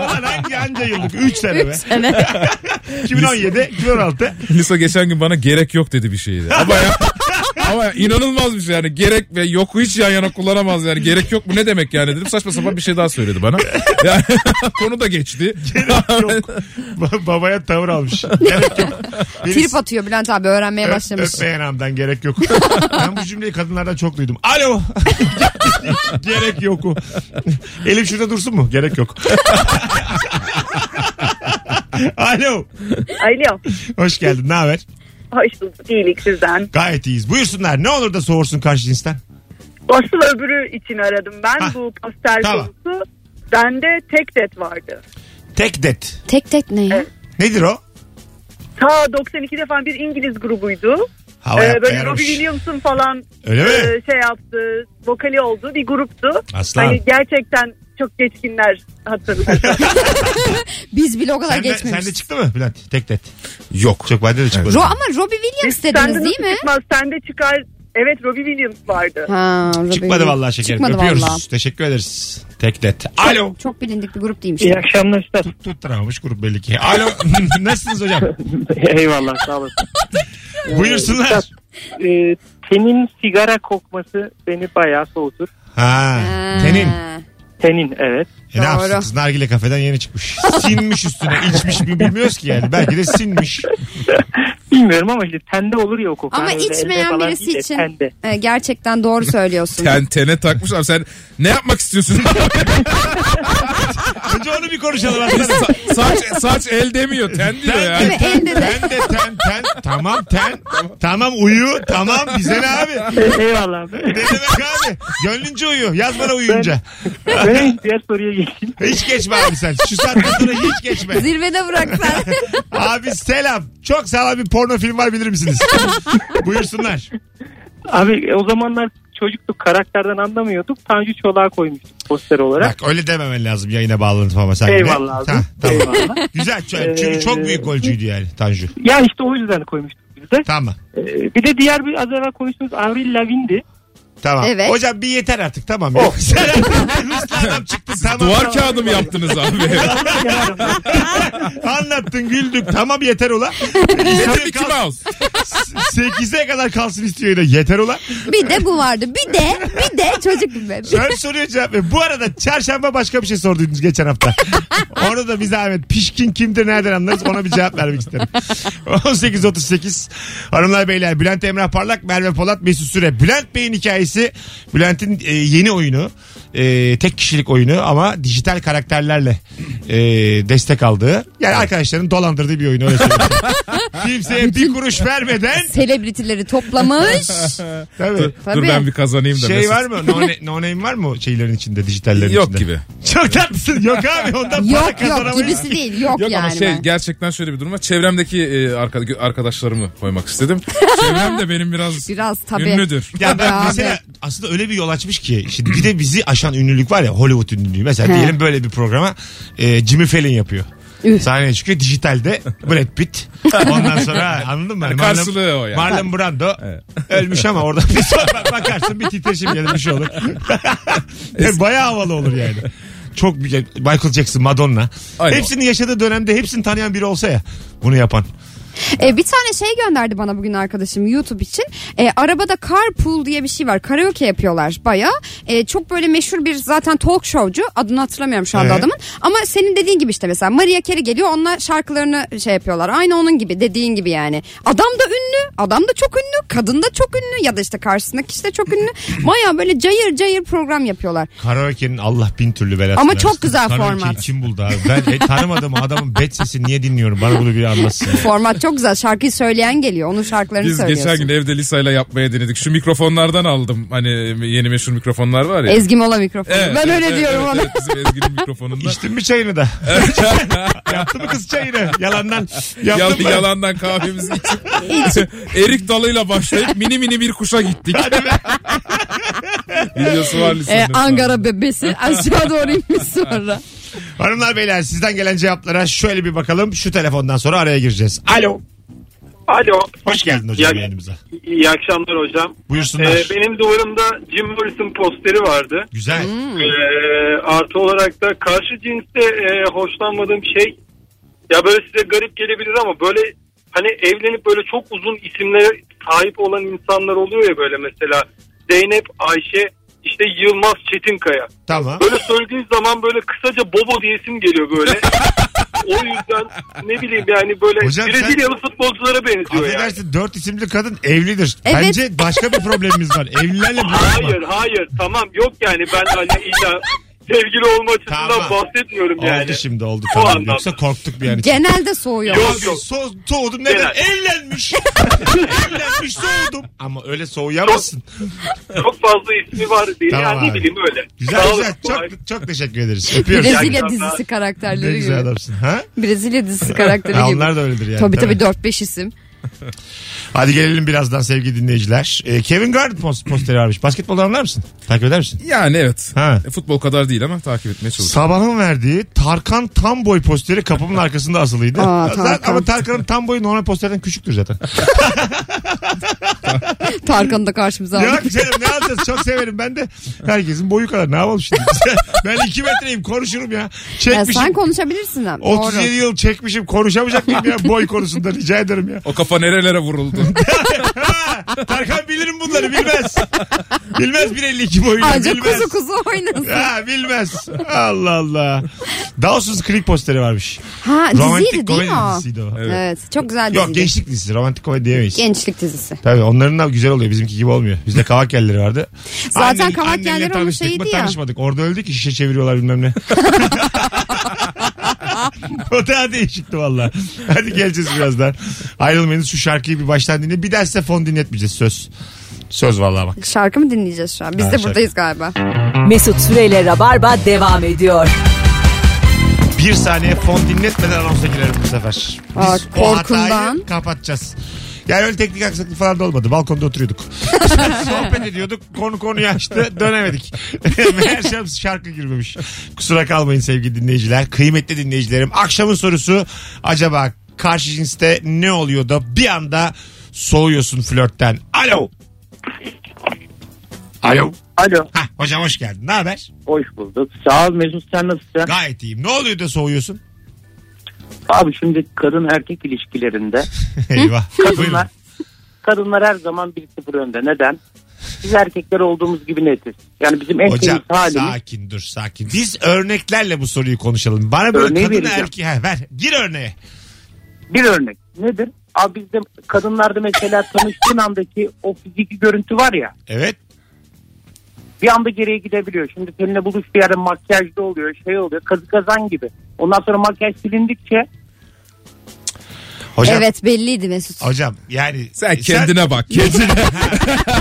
B: Ulan hangi anca yıllık? 3 sene be. 2017, 2016.
C: Lisa geçen gün bana gerek yok dedi bir şeydi. Ama ya Ama inanılmaz bir şey yani. Gerek ve yoku hiç yan yana kullanamaz yani. Gerek yok mu ne demek yani dedim. Saçma sapan bir şey daha söyledi bana. Yani konu da geçti.
B: Ba- Babaya tavır almış. Gerek yok. Birisi-
D: Trip atıyor Bülent abi öğrenmeye
B: Öp-
D: başlamış.
B: Öpmeyen amdan gerek yok. ben bu cümleyi kadınlardan çok duydum. Alo. gerek yok. Elif şurada dursun mu? Gerek yok. Alo.
I: Alo.
B: Hoş geldin. Ne haber?
I: Hoş bulduk. İyilik sizden.
B: Gayet iyiyiz. Buyursunlar. Ne olur da soğursun karşı cinsten.
I: Aslında öbürü için aradım ben
B: Ha,
I: bu pastel
B: tamam.
I: konusu. Bende tek det vardı.
B: Tek det.
D: Tek tek ne ya?
I: Evet.
B: Nedir o?
I: Ta 92'de falan bir İngiliz grubuydu.
B: Hava
I: Ee, böyle
B: yaramış.
I: Robbie Williams'ın falan
B: Öyle mi?
I: e, şey yaptı, vokali olduğu bir gruptu.
B: Aslan.
I: Hani gerçekten çok geçkinler hatırlar.
D: Biz bile o kadar
B: Sen de, sen
D: geçmemişiz.
B: de çıktı mı Bülent? Tek det.
C: Yok.
B: Çok bende de çıkmadı.
D: Ro ama Robbie Williams
I: Sende
D: dediniz
I: nasıl
D: değil mi?
I: çıkmaz? Sende çıkar. Evet Robbie Williams vardı.
D: Ha, Robbie
B: Çıkmadı
D: Williams.
B: vallahi şekerim.
D: Çıkmadı
B: Öpüyoruz.
D: vallahi.
B: Teşekkür ederiz. Tek det. Alo.
D: Çok bilindik bir grup değilmiş.
E: İyi akşamlar üstad.
B: Tutturamamış grup belli ki. Alo. Nasılsınız hocam?
E: Eyvallah sağ olasın.
B: Buyursunlar.
E: Ee, tenin sigara kokması beni bayağı soğutur.
B: Ha,
D: Ha.
B: tenin.
D: Ee,
E: Tenin evet.
B: E ne yapsın
D: Doğru.
B: kız nargile kafeden yeni çıkmış. Sinmiş üstüne içmiş mi bilmiyoruz ki yani. Belki de sinmiş.
E: Bilmiyorum ama işte tende olur ya o koku.
D: Ama
E: Hani öyle elde
D: içmeyen
E: falan
D: birisi
E: değil de
D: için
E: Tende.
D: e, gerçekten doğru söylüyorsun.
C: Ten, tene takmış abi sen ne yapmak istiyorsun?
B: Önce onu bir konuşalım aslında.
C: Sa- saç, saç el demiyor ten diyor
B: Ten,
C: yani.
D: Değil mi? Elde de.
B: Ten de ten ten. Tamam ten. Tamam uyu. Tamam bize ne abi?
E: Eyvallah abi.
B: Ne demek abi? Gönlünce uyu. Yaz bana uyuyunca.
E: Ben diğer soruya geçeyim.
B: Hiç geçme abi sen. Şu saatten sonra hiç geçme.
D: Zirvede bırak sen.
B: Abi selam. Çok sağlam bir porno film var bilir misiniz? Buyursunlar.
E: Abi e, o zamanlar çocuktuk karakterden anlamıyorduk. Tanju Çolak'a koymuştuk poster olarak.
B: Bak öyle dememen lazım yayına bağlanıp ama sen.
E: Eyvallah abi.
B: Ha, tamam.
E: Eyvallah. Ee,
B: Güzel. Çünkü çok büyük golcüydü yani Tanju.
E: ya işte o yüzden koymuştuk biz de.
B: Tamam.
E: Ee, bir de diğer bir az evvel konuştuğumuz Avril Oh. Lavigne'di.
B: Tamam.
D: Evet.
B: Hocam bir yeter artık tamam. Ya. Sen artık Ruslu adam çıktın tamam.
C: Duvar
B: tamam.
C: kağıdı mı yaptınız abi?
B: Anlattın güldük tamam yeter ola.
C: Tabii ki mouse.
B: 8'e kadar kalsın istiyor yine yeter ola.
D: bir de bu vardı. Bir de bir de çocuk gibi.
B: Ön soruyor cevap ver. Bu arada çarşamba başka bir şey sorduydunuz geçen hafta. Onu da bir zahmet. Pişkin kimdir nereden anlarız ona bir cevap vermek isterim. 18.38 Hanımlar beyler Bülent Emrah Parlak Merve Polat Mesut Süre. Bülent Bey'in hikayesi Bülent'in e, yeni oyunu. e, tek kişilik oyunu ama dijital karakterlerle e, destek aldığı yani arkadaşların dolandırdığı bir oyun öyle söyleyeyim. Kimseye bir kuruş vermeden
D: Selebritileri toplamış.
B: tabii.
C: Dur
D: Tabii.
C: ben bir kazanayım da.
B: Şey
C: Mesut.
B: var mı? No, na- no name var mı o şeylerin içinde, dijitallerin
C: Yok
B: içinde?
C: gibi.
B: Çok tatlısın. Yok abi ondan para
D: yok yok
B: kazanamayız.
D: gibisi değil. Yok,
C: Yok
D: yani.
C: ama şey
D: ben.
C: gerçekten şöyle bir durum var. Çevremdeki e, arka- arkadaşlarımı koymak istedim. Çevrem de benim biraz,
D: Biraz tabii.
C: ünlüdür.
B: Ya ben
D: Abi.
B: mesela aslında öyle bir yol açmış ki şimdi bir de bizi aşan ünlülük var ya Hollywood ünlülüğü. Mesela
D: He.
B: diyelim böyle bir programa e, Jimmy Fallon yapıyor. Sahneye çıkıyor dijitalde Brad Pitt. Ondan sonra anladın mı? Hani
C: karşılığı o yani.
B: Marlon Brando ölmüş ama orada bir sonra bakarsın bir titreşim gelir bir şey olur. Yani Bayağı havalı olur yani. Çok güzel. Michael Jackson, Madonna.
C: Aynen.
B: Hepsini yaşadığı dönemde hepsini tanıyan biri olsa ya bunu yapan.
D: E, bir tane şey gönderdi bana bugün arkadaşım YouTube için. E, arabada carpool diye bir şey var. Karaoke yapıyorlar baya. E, çok böyle meşhur bir zaten talk showcu. Adını hatırlamıyorum şu anda
B: Evet.
D: adamın. Ama senin dediğin gibi işte mesela Maria Carey geliyor. Onunla şarkılarını şey yapıyorlar. Aynı onun gibi dediğin gibi yani. Adam da ünlü. Adam da çok ünlü. Kadın da çok ünlü. Ya da işte karşısındaki kişi de çok ünlü. Baya böyle cayır cayır program yapıyorlar.
B: Karaoke'nin Allah bin türlü belasını
D: Ama çok
B: versin.
D: güzel
B: Karaoke'yi
D: format.
B: kim buldu abi? Ben e, tanımadığım adamın bet sesini niye dinliyorum? Bana bunu bir anlatsın.
D: Format çok güzel. Şarkıyı söyleyen geliyor. Onun şarkılarını
C: Biz
D: söylüyorsun.
C: geçen gün evde Lisa'yla yapmaya denedik. Şu mikrofonlardan aldım. Hani yeni meşhur mikrofonlar var ya.
D: Ezgi Mola mikrofonu.
C: Evet,
D: ben
C: evet,
D: öyle
C: evet,
D: diyorum
C: evet,
D: ona.
C: evet, bizim Ezgi'nin mikrofonunda.
B: İçtin mi çayını da? Yaptı mı kız çayını? Yalandan.
C: Yal-
B: Yaptın mı?
C: yalandan kahvemizi içip erik dalıyla başlayıp mini mini bir kuşa gittik. Videosu var lisede.
D: Ee, Angara bebesi aşağı doğru inmiş sonra.
B: Hanımlar beyler sizden gelen cevaplara şöyle bir bakalım. Şu telefondan sonra araya gireceğiz. Alo.
F: Alo.
B: Hoş geldin hocam
F: Ya-
B: yayınımıza.
F: İyi akşamlar hocam.
B: Buyursunlar.
F: Ee, benim duvarımda Jim Morrison posteri vardı.
B: Güzel.
E: Hmm.
F: Ee, artı olarak da karşı cinste
E: Ee,
F: e, hoşlanmadığım şey ya böyle size garip gelebilir ama böyle hani evlenip böyle çok uzun isimler
E: sahip olan insanlar oluyor ya böyle mesela Zeynep Ayşe işte Yılmaz Çetinkaya.
B: Tamam.
E: Böyle söylediğin zaman böyle kısaca Bobo diyesim geliyor böyle. o yüzden ne bileyim yani böyle
B: Hocam sen-
E: Brezilyalı futbolculara benziyor yani.
B: Affedersin dört isimli kadın evlidir.
D: Evet.
B: Bence başka bir problemimiz var. Evlilerle buluşma.
E: Hayır hayır tamam yok yani ben hani illa sevgili olma açısından
B: Tamam.
E: bahsetmiyorum yani.
B: Oldu şimdi oldu.
E: O
B: Tamam.
E: anlamda.
B: Yoksa korktuk bir an için.
D: Genelde soğuyor.
E: Yok.
B: Abi, so- soğudum neden?
E: Genel.
B: Evlenmiş. Evlenmiş soğudum. Ama öyle soğuyamazsın.
E: Çok fazla ismi var diye
B: Tamam
E: yani ne
B: abi.
E: bileyim öyle.
B: Güzel
E: Sağ
B: güzel.
E: olun, kolay.
B: Çok, çok teşekkür ederiz. Öpüyoruz.
D: Brezilya
E: Yani-
D: dizisi
B: Ne
D: karakterleri
B: güzel
D: gibi.
B: adamsın. Ha?
D: Brezilya dizisi karakteri
B: Ha,
D: gibi.
B: onlar da öyledir yani.
D: Tabii
B: Tabii.
D: tabii 4-5 isim.
B: Hadi gelelim birazdan sevgili dinleyiciler. Ee, Kevin Garnett pos- posteri varmış. Basketboldan anlar mısın? Takip eder misin?
C: Yani evet.
B: Ha.
C: E, Futbol kadar değil ama takip etmeye çalışıyorum.
B: Sabahın verdiği Tarkan tam boy posteri kapımın arkasında asılıydı.
D: Aa,
B: Zaten-
D: Tarkan.
B: Ama Tarkan'ın tam boyu normal posterden küçüktür zaten.
D: Tarkan'ı da karşımıza
B: ya
D: aldık.
B: canım ne alacağız çok severim ben de. Herkesin boyu kadar ne yapalım şimdi. ben iki metreyim konuşurum ya.
D: Ya
B: Çekmişim.
D: sen konuşabilirsin ama.
B: 37
D: Doğru.
B: şey- yıl çekmişim konuşamayacak mıyım ya boy konusunda rica ederim ya.
C: O kafa nerelere vuruldu?
B: Tarkan bilirim bunları bilmez. Bilmez 1.52 boyu.
D: Ancak
B: bilmez.
D: kuzu kuzu oynasın.
B: Ha bilmez. Allah Allah. Dawson's Creek posteri varmış.
D: Ha diziydi değil mi o?
B: dizisiydi o.
D: Evet. çok güzel
B: Yok
D: diziydi.
B: gençlik dizisi romantik komedi diyemeyiz.
D: Gençlik dizisi.
B: Tabii onların da güzel oluyor bizimki gibi olmuyor. Bizde kavak yerleri vardı.
D: Zaten kavak
B: annenle
D: yerleri onun
B: tanıştık
D: şeyiydi
B: mı,
D: ya.
B: Tanışmadık orada öldük ki şişe çeviriyorlar bilmem ne. o daha değişikti valla. Hadi geleceğiz birazdan. Ayrılmayınız şu şarkıyı bir baştan dinle. Bir daha size fon dinletmeyeceğiz söz. Söz vallahi bak.
D: Şarkı mı dinleyeceğiz şu an? Biz
B: Ha,
D: de
B: şarkı.
D: buradayız galiba.
A: Mesut Süreyle Rabarba devam ediyor.
B: Bir saniye fon dinletmeden anonsa girerim bu sefer. Biz
D: Aa,
B: o hatayı
D: korkundan.
B: kapatacağız. Yani öyle teknik aksaklık falan da olmadı. Balkonda oturuyorduk. Sohbet ediyorduk. Konu konuyu açtı. Dönemedik. Meğersem şarkı girmemiş. Kusura kalmayın sevgili dinleyiciler. Kıymetli dinleyicilerim. Akşamın sorusu acaba karşı cinste ne oluyor da bir anda soğuyorsun flörtten. Alo. Alo.
E: Alo.
B: Hah, hocam hoş geldin. Ne haber?
E: Hoş bulduk. Sağ ol Mesut sen nasılsın?
B: Gayet iyiyim. Ne oluyor da soğuyorsun?
E: Abi şimdi kadın erkek ilişkilerinde
B: Eyvah. Buyurun.
E: kadınlar kadınlar her zaman bir sıfır önde. Neden? Biz erkekler olduğumuz gibi netiz. Yani bizim en temiz
B: Hocam
E: halimiz
B: sakin dur sakin. Biz örneklerle bu soruyu konuşalım. Bana böyle
E: Örneği
B: kadın
E: vereceğim.
B: erkeği Ha, ver. Gir örneğe.
E: bir örnek. Nedir? Abi bizde kadınlarda mesela tanıştığın andaki o fiziki görüntü var ya
B: Evet.
E: bir anda geriye gidebiliyor. Şimdi seninle buluş bir yerde makyajlı oluyor şey oluyor kazı kazan gibi. Ondan sonra makyaj silindikçe
B: Hocam.
D: Evet belliydi Mesut.
B: Hocam yani
C: Sen kendine bak. Kendine.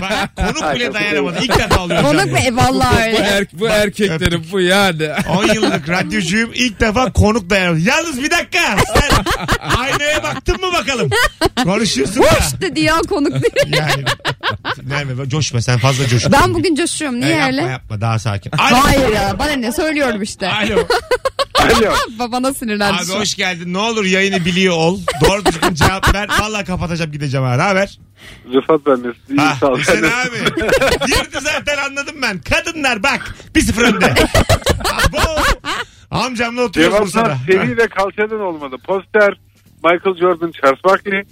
B: bak, konuk bile dayanamadı. İlk defa oluyor hocam.
D: Konuk mu?
B: ya.
D: E, vallahi
C: bu,
D: öyle.
C: er, bu erkeklerin bu yani.
B: 10 yıllık radyocuyum ilk defa konuk dayanamadı. Yalnız bir dakika sen aynaya baktın mı bakalım? Konuşuyorsun da.
D: Hoş dedi ya konuk diye.
B: Yani, Nermin coşma sen fazla coşma.
D: Ben bugün coşuyorum.
B: Ya
D: Niye
B: Ee, yapma
D: öyle?
B: yapma daha sakin. Alo.
D: Hayır ya bana ne söylüyorum işte.
B: Alo.
D: Babana sinirlendi
B: Abi
D: şu an.
B: hoş geldin. Ne olur yayını biliyor ol. Doğru düzgün cevap ver. Vallahi kapatacağım gideceğim ha. Ne haber?
F: Rıfat ben Mesut. İyi
B: Ha, sen abi. Girdi zaten anladım ben. Kadınlar bak. Bir sıfır önde. Abo. Amcamla oturuyoruz Bursa'da.
F: ve kalçadan olmadı. Poster Michael Jordan, Charles Barkley. Ee,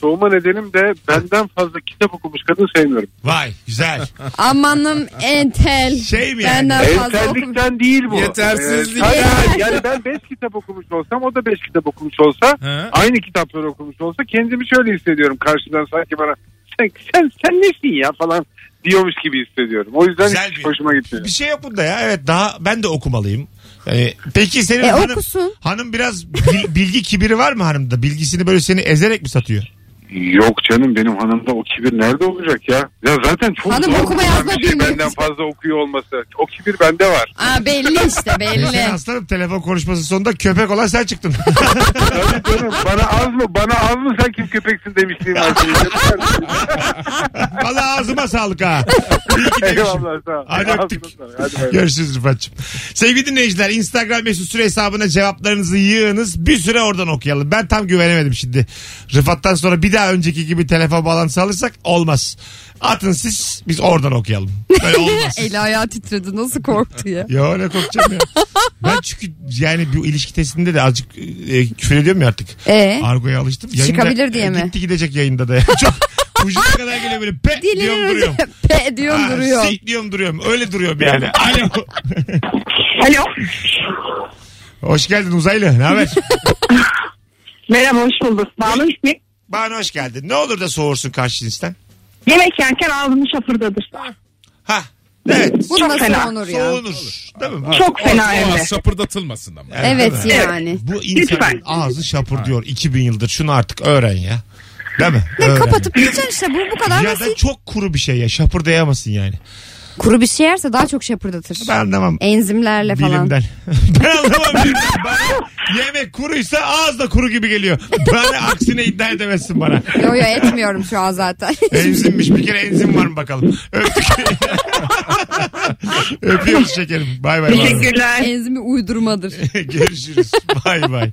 F: soğuma nedenim de benden fazla kitap okumuş kadın sevmiyorum.
B: Vay güzel.
D: Amanım entel.
B: Şey mi yani?
D: Benden fazla okumuş.
F: Entellikten değil bu.
C: Yetersizlik.
F: Ee, hayır, yani ben 5 kitap okumuş olsam o da 5 kitap okumuş olsa
C: Ha?
F: aynı kitapları okumuş olsa kendimi şöyle hissediyorum karşıdan sanki bana sen sen, sen nesin ya falan diyormuş gibi hissediyorum. O yüzden
B: Güzel
F: hiç
B: bir-
F: hoşuma gitmiyor.
B: Bir şey yok bunda ya. Evet daha ben de okumalıyım. Yani peki senin
D: E,
B: hanım,
D: okusun.
B: hanım biraz bil- bilgi kibiri var mı hanımda? Bilgisini böyle seni ezerek mi satıyor?
F: Yok canım benim hanımda o kibir nerede olacak ya? Ya zaten çok
D: Hanım
F: zor
D: okuma
F: bulunan
D: yazma
F: bir şey
D: bilmiyor.
F: benden fazla okuyor olması. O kibir bende var.
D: Aa, belli işte belli.
B: Sen aslanım telefon konuşması sonunda köpek olan sen çıktın.
F: Tabii canım bana az mı bana az mı sen kim köpeksin demiştim.
B: Valla ağzıma sağlık ha. İyi ki demişim.
F: Eyvallah sağ ol.
B: Hadi öptük.
F: Ağzına sağlık. Hadi bay bay.
B: Görüşürüz Rıfat'cığım. Sevgili dinleyiciler Instagram mesut süre hesabına cevaplarınızı yığınız. Bir süre oradan okuyalım. Ben tam güvenemedim şimdi. Rıfat'tan sonra bir daha daha önceki gibi telefon bağlantısı alırsak olmaz. Atın siz biz oradan okuyalım. Böyle olmaz.
D: Eli ayağı titredi nasıl korktu ya.
B: Ya ne korkacağım ya. Ben çünkü yani bu ilişki testinde de azıcık e, küfür ediyorum ya artık.
D: Ee?
B: Argoya alıştım. e,
D: Çıkabilir diye mi?
B: Gitti gidecek yayında da. ya. Çok ucuna kadar geliyor böyle pe diyorum
D: Dilinin
B: duruyorum.
D: ucu pe diyorum
B: Ha,
D: duruyor.
B: Sik diyorum duruyorum. Öyle duruyorum yani. Alo.
I: Alo.
B: Hoş geldin uzaylı. Ne haber?
I: Merhaba hoş bulduk. Bağlı ismi.
B: Bana hoş geldin. Ne olur da soğursun karşı cinsten.
I: Yemek yerken ağzını şapırdadır.
B: Ha. Evet.
D: Bu
I: Çok
D: nasıl
I: fena.
D: onur ya.
B: Soğunur. Değil mi?
I: Çok fena
C: Ama
I: hem de.
C: sapırdatılmasın ama.
B: değil
D: Evet
B: mi?
D: yani.
B: Bu insanın
I: Lütfen.
B: ağzı şapır diyor 2000 yıldır. Şunu artık öğren ya. Değil mi?
D: Ne
B: Öğren.
D: kapatıp yiyeceksin işte bu bu kadar
B: Ya da
D: basit.
B: çok kuru bir şey ya. Şapırdayamasın yani.
D: Kuru bir şey yerse daha çok şapırdatır.
B: Ben anlamam.
D: Enzimlerle falan.
B: Bilimden. ben anlamam bilimden. Bana yemek kuruysa ağız da kuru gibi geliyor. Bana aksine iddia edemezsin bana.
D: Yo yo etmiyorum şu an zaten.
B: Enzimmiş. Bir kere enzim var mı bakalım. Öptük. Öpüyoruz şekerim. Bay bay.
I: Teşekkürler.
D: Enzimi uydurmadır.
B: Görüşürüz. Bay bay.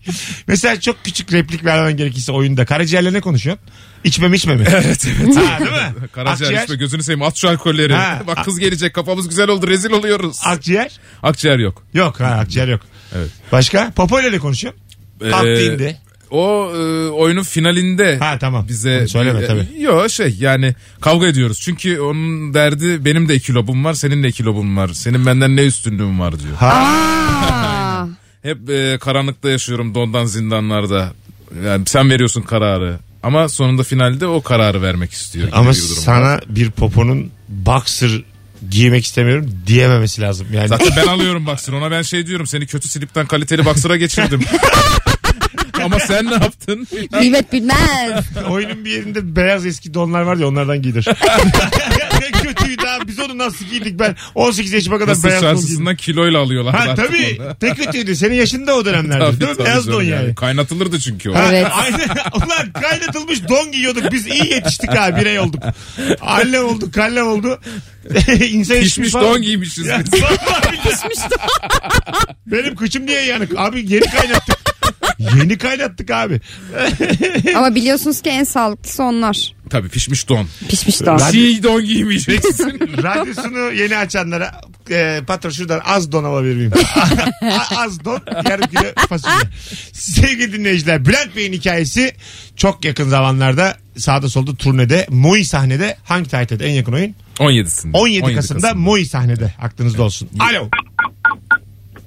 B: Mesela çok küçük replik vermen gerekirse oyunda. Karaciğerle ne konuşuyorsun? İçmem içmeme.
C: Evet evet.
B: Ha, değil mi?
C: Karaciğer
B: Akciğer.
C: işte gözünü seveyim at şu alkolleri.
B: Ha.
C: Bak kız gelecek kafamız güzel oldu rezil oluyoruz.
B: Akciğer?
C: Akciğer yok.
B: Yok ha akciğer yok.
C: Evet.
B: Başka? Popo ile ne konuşuyorsun? Kalktı
C: Ee,
B: indi.
C: O e, oyunun finalinde
B: Ha tamam.
C: bize
B: Onu söyleme
C: e,
B: tabii.
C: Yo şey yani kavga ediyoruz. Çünkü onun derdi benim de iki lobum var, senin de iki lobun var. Senin benden ne üstünlüğün var diyor.
D: Aa,
C: Hep e, karanlıkta yaşıyorum dondan zindanlarda. Yani sen veriyorsun kararı. Ama sonunda finalde o kararı vermek istiyor. gibi
B: Ama
C: bir durum var.
B: sana bir poponun boxer giymek istemiyorum diyememesi lazım. Yani
C: Zaten ben alıyorum baksın ona ben şey diyorum seni kötü slipten kaliteli baksıra geçirdim. Ama sen ne yaptın?
D: kıymet bilmez.
B: oyunun bir yerinde beyaz eski donlar var ya onlardan giydir. ne kötüydü abi biz onu nasıl giydik ben 18 yaşıma kadar
C: Mısır
B: beyaz don giydim.
C: çarşısından kiloyla alıyorlar.
B: Ha
C: artık
B: tabii
C: onu.
B: ne kötüydü senin yaşında o dönemlerde
C: Tabii,
B: değil mi?
C: tabii
B: Beyaz
C: canım
B: don yani.
C: Kaynatılırdı çünkü o.
B: Ha,
D: Evet.
B: Aynen. Ulan kaynatılmış don giyiyorduk. Biz iyi yetiştik ha. Birey olduk. Annem olduk, kallem oldu. İnsan
C: Pişmiş don giymişiz
B: Ya,
C: biz.
B: Pişmiş don. Benim kıçım niye yanık? Abi yeni kaynattık. yeni kaynattık abi.
D: Ama biliyorsunuz ki en sağlıklısı onlar.
C: Tabii pişmiş don.
B: Ee,
D: Pişmiş daha.
C: Çiğ don giymeyeceksin.
B: Radyosunu yeni açanlara e, patron şuradan az don alabilir miyim? A- az don yarım kilo fasulye. Sevgili dinleyiciler Bülent Bey'in hikayesi çok yakın zamanlarda sağda solda turnede Moi sahnede hangi tarihteydi en yakın oyun?
C: 17'sinde.
B: 17, Kasım'da Moi sahnede aklınızda olsun. Alo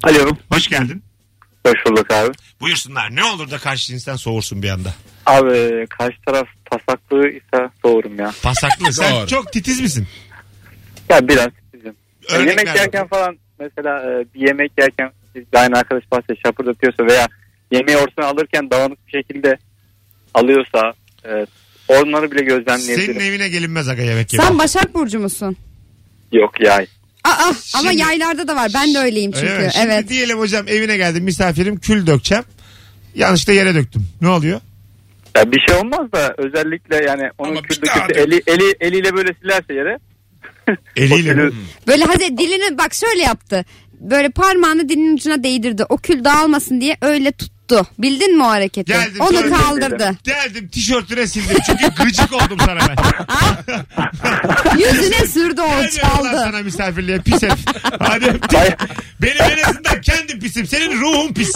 E: Alo.
B: hoş geldin.
E: Hoş bulduk abi.
B: Buyursunlar ne olur da karşı cinsten soğursun bir anda.
E: Abi karşı taraf pasaklıysa soğurum ya.
B: Pasaklı sen
C: Doğru.
B: çok titiz misin?
E: Ya biraz sizin.
B: Örnek
E: yemek
B: ver
E: yerken falan mesela e, bir yemek yerken biz de aynı arkadaş bahsediyor şapırdatıyorsa veya yemeği ortasına alırken dağınık bir şekilde alıyorsa e, onları bile gözlemleyebilirim.
B: Senin evine gelinmez aga yemek yemeye.
D: Sen Başak Burcu musun?
E: Yok ya.
D: Aa, ama
B: Şimdi-
D: yaylarda da var. Ben de öyleyim çünkü.
B: Öyle mi? Şimdi
D: evet.
B: diyelim hocam evine geldim misafirim kül dökeceğim. Yanlışlıkla yere döktüm. Ne oluyor?
E: ya. Bir şey olmaz da özellikle yani onun
C: Ama bir
E: kürdü
C: daha
E: kürdü eli, eli, eliyle böyle silerse yere.
B: Eliyle
E: o
B: mi?
E: külü-
D: Böyle hadi dilini bak şöyle yaptı. Böyle parmağını dilinin ucuna değdirdi. O kül dağılmasın diye öyle tuttu. Bildin mi o hareketi?
B: Geldim,
D: Onu
B: söyledim.
D: kaldırdı.
B: Geldim tişörtüne sildim çünkü gıcık oldum sana ben.
D: Yüzüne sürdü o
B: Gelmiyorlar
D: çaldı.
B: sana misafirliğe pis herif. Hadi öptüm.
E: Ay-
B: Benim en azından kendim pisim. Senin ruhun pis.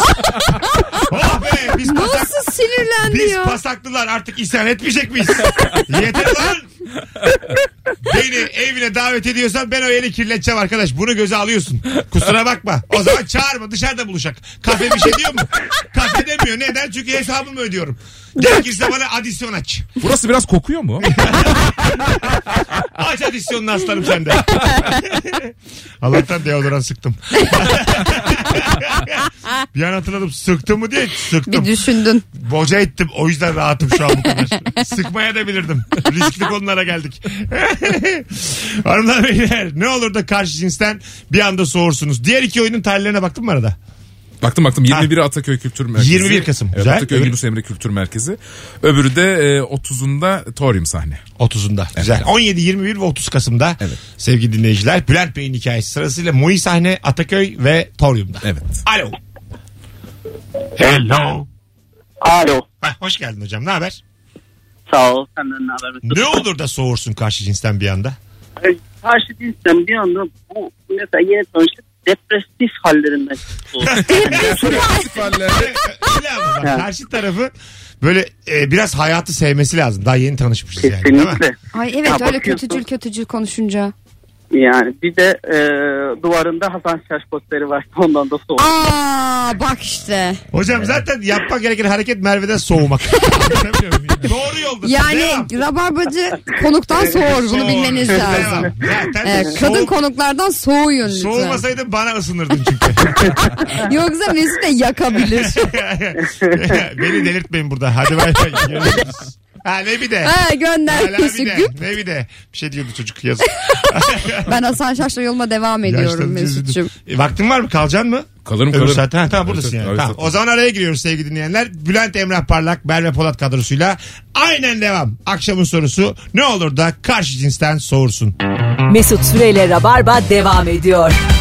B: oh be biz, pasak,
D: Nasıl sinirlendi
B: biz
D: ya?
B: pasaklılar artık isyan etmeyecek miyiz? Yeter lan. Beni evine davet ediyorsan ben o yeri kirleteceğim arkadaş. Bunu göze alıyorsun. Kusura bakma. O zaman çağırma dışarıda buluşak. Kafe bir şey diyor mu? Kafe demiyor. Neden? Çünkü hesabımı ödüyorum. Gerekirse bana adisyon aç.
C: Burası biraz kokuyor mu?
B: Aç adisyonunu aslanım sende. Allah'tan deodorant sıktım. bir an hatırladım sıktım mı diye
D: Bir
B: sıktım.
D: düşündün.
B: Boca ettim o yüzden rahatım şu an bu kadar. Sıkmaya da bilirdim. Riskli konulara geldik. Hanımlar beyler ne olur da karşı cinsten bir anda soğursunuz. Diğer iki oyunun tarihlerine baktın mı arada?
C: Baktım baktım 21 Ataköy Kültür Merkezi.
B: 21 Kasım.
C: Evet,
B: Güzel.
C: Ataköy
B: Öbürü-
C: Yunus Emre Kültür Merkezi. Öbürü de e, 30'unda Torium sahne.
B: 30'unda. Güzel. 17, 21 ve 30 Kasım'da
C: Evet.
B: sevgili dinleyiciler. Bülent Bey'in hikayesi sırasıyla Moi sahne Ataköy ve Torium'da.
C: Evet.
B: Alo. Hello.
E: Alo.
B: Heh, hoş geldin hocam. Ne haber?
G: Sağ ol. Senden ne haber?
B: Ne olur da soğursun karşı cinsten bir anda.
G: E, Karşı cinsten bir anda bu mesela yeni tanıştık depresif hallerinden
B: Öyle ama bak, karşı tarafı böyle e, biraz hayatı sevmesi lazım. Daha yeni tanışmışız yani. değil mi?
G: Kesinlikle.
D: Ay evet
G: Ya
D: öyle
G: bakıyorsun.
D: kötücül kötücül konuşunca.
G: Yani bir de e, duvarında Hasan Şaş posteri var. Ondan da soğuk.
D: Aa bak işte.
B: Hocam zaten yapmak gereken hareket Merve'den soğumak. Anlatabiliyor muyum? Doğru yoldasın.
D: Yani
B: Devam.
D: rabarbacı konuktan soğur bunu
B: Soğur.
D: bilmeniz
B: Devam.
D: lazım.
B: Zaten
D: Evet,
B: soğuk-
D: kadın konuklardan soğuyun lütfen.
B: Soğumasaydın bana ısınırdın çünkü.
D: Yoksa Mesut de yakabilir.
B: Beni delirtmeyin burada. Hadi bay bay. Görüşürüz. Ha ne bir de.
D: ha, gönder
B: Hala bir
D: Mesut.
B: de. Ne bir de. Bir şey diyordu çocuk yazık.
D: Ben Hasan Şaş'la yoluma devam ediyorum
B: Yaşlandım, üzüldüm.
D: Mesut'cum.
B: E, vaktin var mı? Kalacaksın mı?
C: Kalırım
B: Öbür
C: kalırım.
B: saatte ha, tamam
C: Evet,
B: buradasın
C: evet,
B: yani.
C: evet,
B: Tamam.
C: evet.
B: O zaman araya giriyoruz sevgili dinleyenler. Bülent Emrah Parlak, Merve Polat kadrosuyla aynen devam. Akşamın sorusu ne olur da karşı cinsten soğursun.
A: Mesut Süreyle Rabarba devam ediyor.